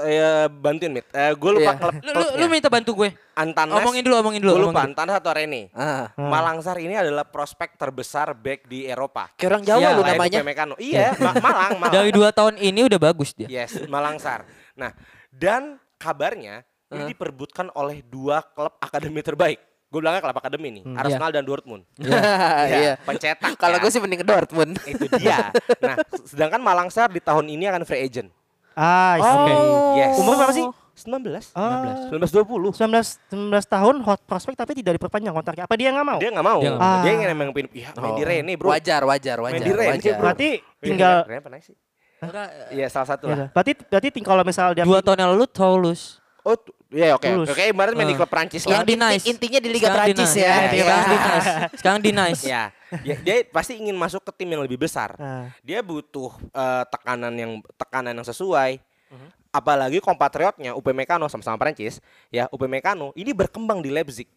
eh, bantuin Mit. Eh, gue lupa Iya. klub Lu, lu, lu klubnya. minta bantu gue. Antanas. Omongin dulu, omongin dulu, Gue lupa omongin dulu. Antanas atau Rene. Ah, Malangsar ini adalah prospek terbesar back di Eropa. kayak orang Jawa Iya, lu lain Selain namanya. Upamecano. Iya, Ma- Malang, Malang. Dari dua tahun ini udah bagus dia. Yes, Malangsar. Nah, dan kabarnya ini diperbutkan oleh dua klub akademi terbaik. Gue bilangnya klub akademi nih, Arsenal dan Dortmund. Hmm. Ya, Iya. pencetak. ya. Kalau gue sih mending ke Dortmund. itu dia. Nah, sedangkan Malangsar di tahun ini akan free agent. Ah, Oh. iya. Oke. Yes. Umur berapa sih? 19. Oh. Ah. 19 20. 19 19 tahun hot prospect tapi tidak diperpanjang kontraknya. Apa dia nggak mau? Dia nggak mau. Dia Dia, nggak mau. ingin emang pin ya, main di Rene, Bro. Ah. Oh. Wajar, wajar, wajar. Main di Ren, sih, wajar. eh. bro. Berarti Rene- tinggal Rene pernah sih? Iya, salah satu lah. berarti berarti ting kalau misal dia Dua tahun yang lalu Tolus. Oh, tu- iya oke. Tulus. Oke, kemarin main di Ah. klub Prancis kan? lah. Yang Yang di inti- nice. intinya di Liga Sekarang Prancis nice. ya. Iya, Sekarang di Iya. nice. Sekarang di nice. Ya, ya, dia pasti ingin masuk ke tim yang lebih besar. Ah. Dia butuh eh, tekanan yang tekanan yang sesuai. Apalagi kompatriotnya Upamecano sama-sama Prancis, ya Upamecano ini berkembang di Leipzig.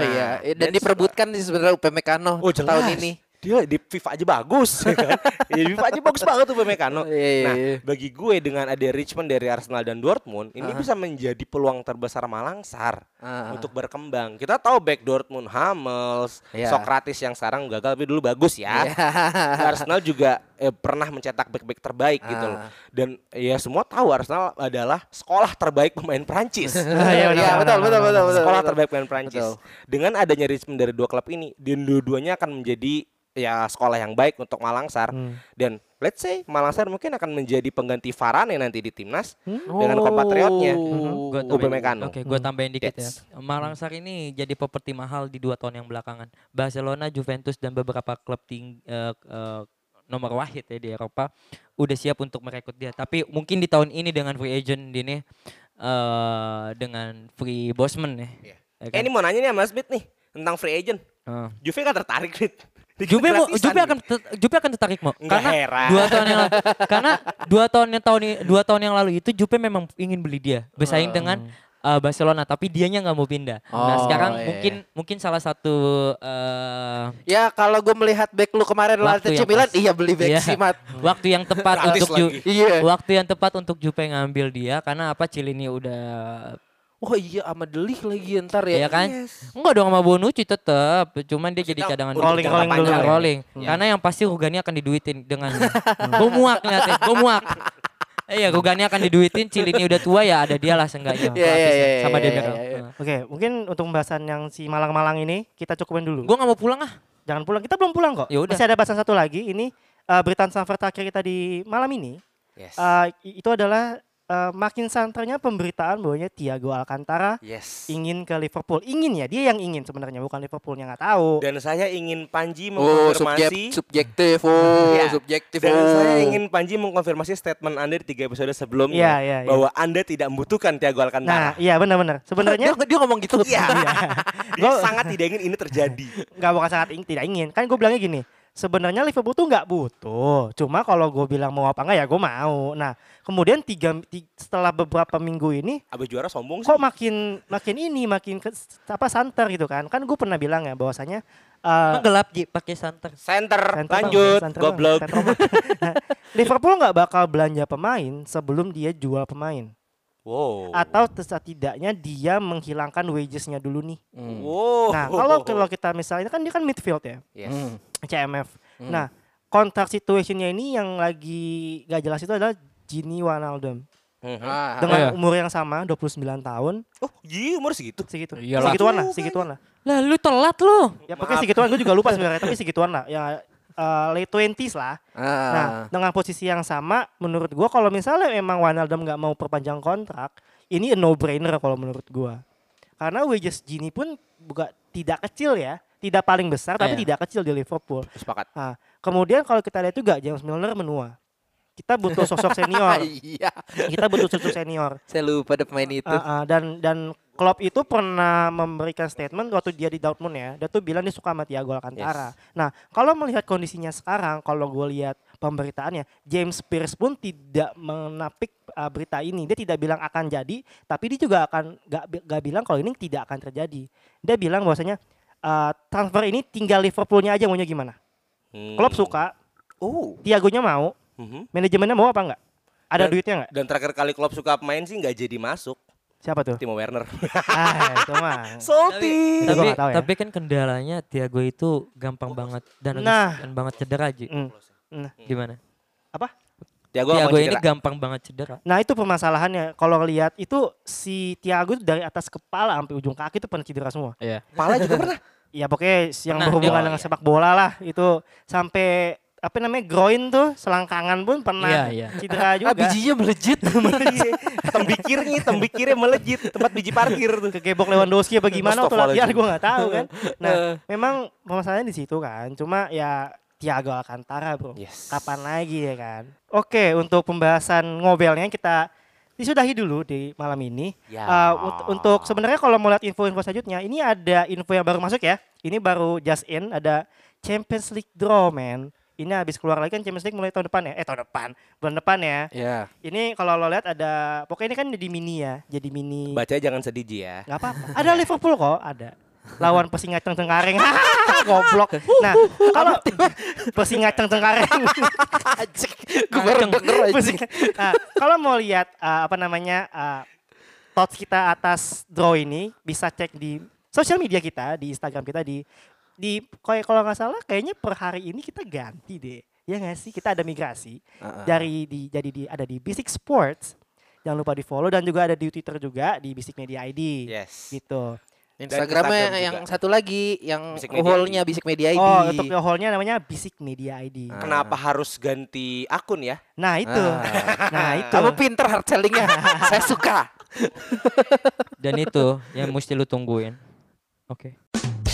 Nah, iya, Eh, dan dan diperebutkan sih sebenarnya Upamecano Oh, jelas. tahun ini. Dia di FIFA aja bagus, ya kan? Ya, di FIFA aja bagus banget tuh Upamecano. Iya, iya, Nah, iya. bagi gue dengan ada Richmond dari Arsenal dan Dortmund, ini bisa menjadi peluang terbesar Malangsar Ah. untuk berkembang. Kita tahu back Dortmund Hummels, Iya. Socrates yang sekarang gagal tapi dulu bagus ya. Arsenal juga eh, pernah mencetak back-back terbaik gitu loh. Ah. Dan ya semua tahu Arsenal adalah sekolah terbaik pemain Prancis. Ah, iya, benar, Iya, benar, benar, betul, betul, benar. betul, betul. sekolah betul. terbaik pemain Prancis. Betul. Dengan adanya Richmond dari dua klub ini, dan dua-duanya akan menjadi ya sekolah yang baik untuk Malangsar. Dan let's say Malangsar mungkin akan menjadi pengganti Varane nanti di timnas Hmm. Oh. dengan kompatriotnya. Mhm. Gua tambahin- Upamecano. Oke, Hmm. gue tambahin dikit Yes. ya. Malangsar ini jadi properti mahal di dua tahun yang belakangan. Barcelona, Juventus dan beberapa klub ting eh, eh, nomor wahid ya di Eropa udah siap untuk merekrut dia. Tapi mungkin di tahun ini dengan free agent ini eh dengan free bosman ya. Iya. ya Eh kan? ini mau nanya nih sama Smith nih tentang free agent. Heeh. Juve gak tertarik nih. Juve mau, Juve akan ter- Juve akan tertarik mau Nggak karena heran. dua tahun yang lalu, karena dua tahun yang tahun i- dua tahun yang lalu itu Juve memang ingin beli dia bersaing dengan eh, Barcelona tapi dianya nggak mau pindah. Oh, nah sekarang iya, mungkin mungkin salah satu eh, Ya kalau gue melihat back lu kemarin lawan Waktu AC yang Milan, pas. iya beli back Iya. sih Mat. waktu yang tepat Gratis untuk Ju- lagi. Iya. waktu yang tepat untuk Jupe ngambil dia karena apa Cilini udah Wah iya sama Delik lagi ntar ya. ya, kan enggak dong sama Bonucci tetap cuman dia jadi Maksudnya cadangan untuk Rolling, jangka rolling dulu. Nah, panjang ya. rolling. Karena yang pasti Rugani akan diduitin dengan gue muak ngeliatnya, gue muak. Iya, Rugani akan diduitin, Cilini udah tua ya ada dia lah seenggaknya. Iya, iya, iya, iya, Sama dia iya, bilang, iya. "Eh, Oke, mungkin untuk pembahasan yang si Malang-Malang ini kita cukupin dulu. Gue gak mau pulang ah. Jangan pulang, kita belum pulang kok. Ya udah. Masih ada bahasan satu lagi. Ini eh, berita transfer terakhir kita di malam ini. Yes. Ah, Eh, i- itu adalah eh, makin santernya pemberitaan bahwanya Thiago Alcantara Yes. ingin ke Liverpool. Ingin ya, dia yang ingin sebenarnya, bukan Liverpoolnya nggak tahu. Dan saya ingin Panji Oh subjek, mengkonfirmasi. subjektif, oh Ya. subjektif. Dan oh. saya ingin Panji mengkonfirmasi statement Anda di tiga episode sebelumnya Iya, iya, iya. bahwa Anda tidak membutuhkan Tiago Nah, Alcantara. iya benar-benar. Sebenarnya iya. dia, dia ngomong gitu. Iya. Iya. Dia sangat tidak ingin ini terjadi. nggak bukan sangat ingin, tidak ingin. Kan gue bilangnya gini, sebenarnya Liverpool tuh nggak butuh. Cuma kalau gue bilang mau apa nggak ya gue mau. Nah, kemudian tiga, ti- setelah beberapa minggu ini Abis juara sombong sih. kok makin makin ini makin ke, apa santer gitu kan? Kan gue pernah bilang ya bahwasanya eh, Emang gelap Ji, pakai santer. Center, Center lanjut, banget, center goblok. banget, center banget. Liverpool nggak bakal belanja pemain sebelum dia jual pemain Wow. atau setidaknya dia menghilangkan wagesnya dulu nih. Hmm. Wow. Oh, Nah kalau kalau kita misalnya kan dia kan midfield ya Yes. Hmm. CMF. Nah kontrak situationnya ini yang lagi gak jelas itu adalah Gini Wijnaldum Mhm. Ah, dengan iya. umur yang sama 29 tahun Oh, iya umur segitu. segitu Iyalah. segituan lah segituan lah Lah lu telat lu. ya pakai Maaf. segituan gue juga lupa sebenarnya tapi segituan lah ya eh, late 20s lah ah. Nah, dengan posisi yang sama, menurut gua kalau misalnya memang Wijnaldum nggak mau perpanjang kontrak, ini a no-brainer kalau menurut gua. Karena wages Gini pun buka tidak kecil ya, tidak paling besar tapi Iya. tidak kecil di Liverpool. Sepakat. Nah, kemudian kalau kita lihat juga James Milner menua. Kita butuh sosok senior, iya, kita butuh sosok senior. saya lupa ada pemain Gitu. itu. Ah, ah, dan dan Klopp itu pernah memberikan statement waktu dia di Dortmund ya, dia tuh bilang dia suka sama Thiago Alcantara. Nah, kalau melihat kondisinya sekarang, kalau gue lihat pemberitaannya, James Pierce pun tidak menapik uh, berita ini. Dia tidak bilang akan jadi, tapi dia juga akan gak, bi- gak bilang kalau ini tidak akan terjadi. Dia bilang bahwasanya uh, transfer ini tinggal Liverpoolnya aja maunya gimana. Hmm. Klopp suka, Oh. Thiago-nya mau, Mhm. manajemennya mau apa enggak? Ada Dan- duitnya enggak? Dan terakhir kali Klopp suka main sih nggak jadi masuk. Siapa tuh? Timo Werner. ah, itu mah. Salty. Itu gua Tapi nggak tahu ya. tapi kan kendalanya Tiago itu gampang banget dan habis Nah. gampang banget cedera Ji. Mm, mm. Gimana? Apa? Tiago Tiago gampang ini cedera. gampang banget cedera. Nah itu permasalahannya. Kalau lihat itu si Tiago itu dari atas kepala sampai ujung kaki itu pernah cedera semua. Iya. Kepala juga pernah. Ya pokoknya yang Pernah, berhubungan iya. dengan sepak bola lah itu sampai apa namanya groin tuh selangkangan pun Iya, pernah iya. cedera juga. bijinya melejit. Iya. Tembikirnya, tembikirnya melejit tempat biji parkir tuh. Kegebok Lewandowski apa gimana waktu latihan Astagfirullahaladzim. Eh. gue nggak tahu kan. Nah memang permasalahannya di situ kan. Cuma ya Tiago Alcantara bro. Yes. Kapan lagi ya kan. Oke untuk pembahasan ngobelnya kita disudahi dulu di malam ini. Ya. Eh, unt- untuk sebenarnya kalau mau lihat info-info selanjutnya, ini ada info yang baru masuk ya. Ini baru just in ada Champions League draw, man. Ini habis keluar lagi kan Champions League mulai tahun depan ya. Eh tahun depan, bulan depan ya. Ya. Ini kalau lo lihat ada pokoknya ini kan jadi mini ya, jadi mini. Baca jangan sedih Ji, ya. Gak apa-apa. Ada Liverpool kok, ada. Lawan Persingacang Cengkareng. Goblok. Nah, kalau Persingacang Cengkareng. Ajik, gue baru denger aja. Pusing. Nah, kalau mau lihat uh, apa namanya uh, thoughts kita atas draw ini bisa cek di sosial media kita di Instagram kita di di kayak kalau nggak salah kayaknya per hari ini kita ganti deh ya nggak sih kita ada migrasi dari di jadi di ada di Basic Sports jangan lupa di follow dan juga ada di Twitter juga di Basic Media ID Yes. gitu Instagramnya Instagram juga. yang satu lagi, yang Bisik Media hole-nya Bisik Media ID. oh untuk hall-nya namanya Basic Media ID Kenapa harus ganti akun ya? nah itu nah itu Kamu pinter hard selling-nya. Saya suka. Dan itu yang mesti lu tungguin. Oke.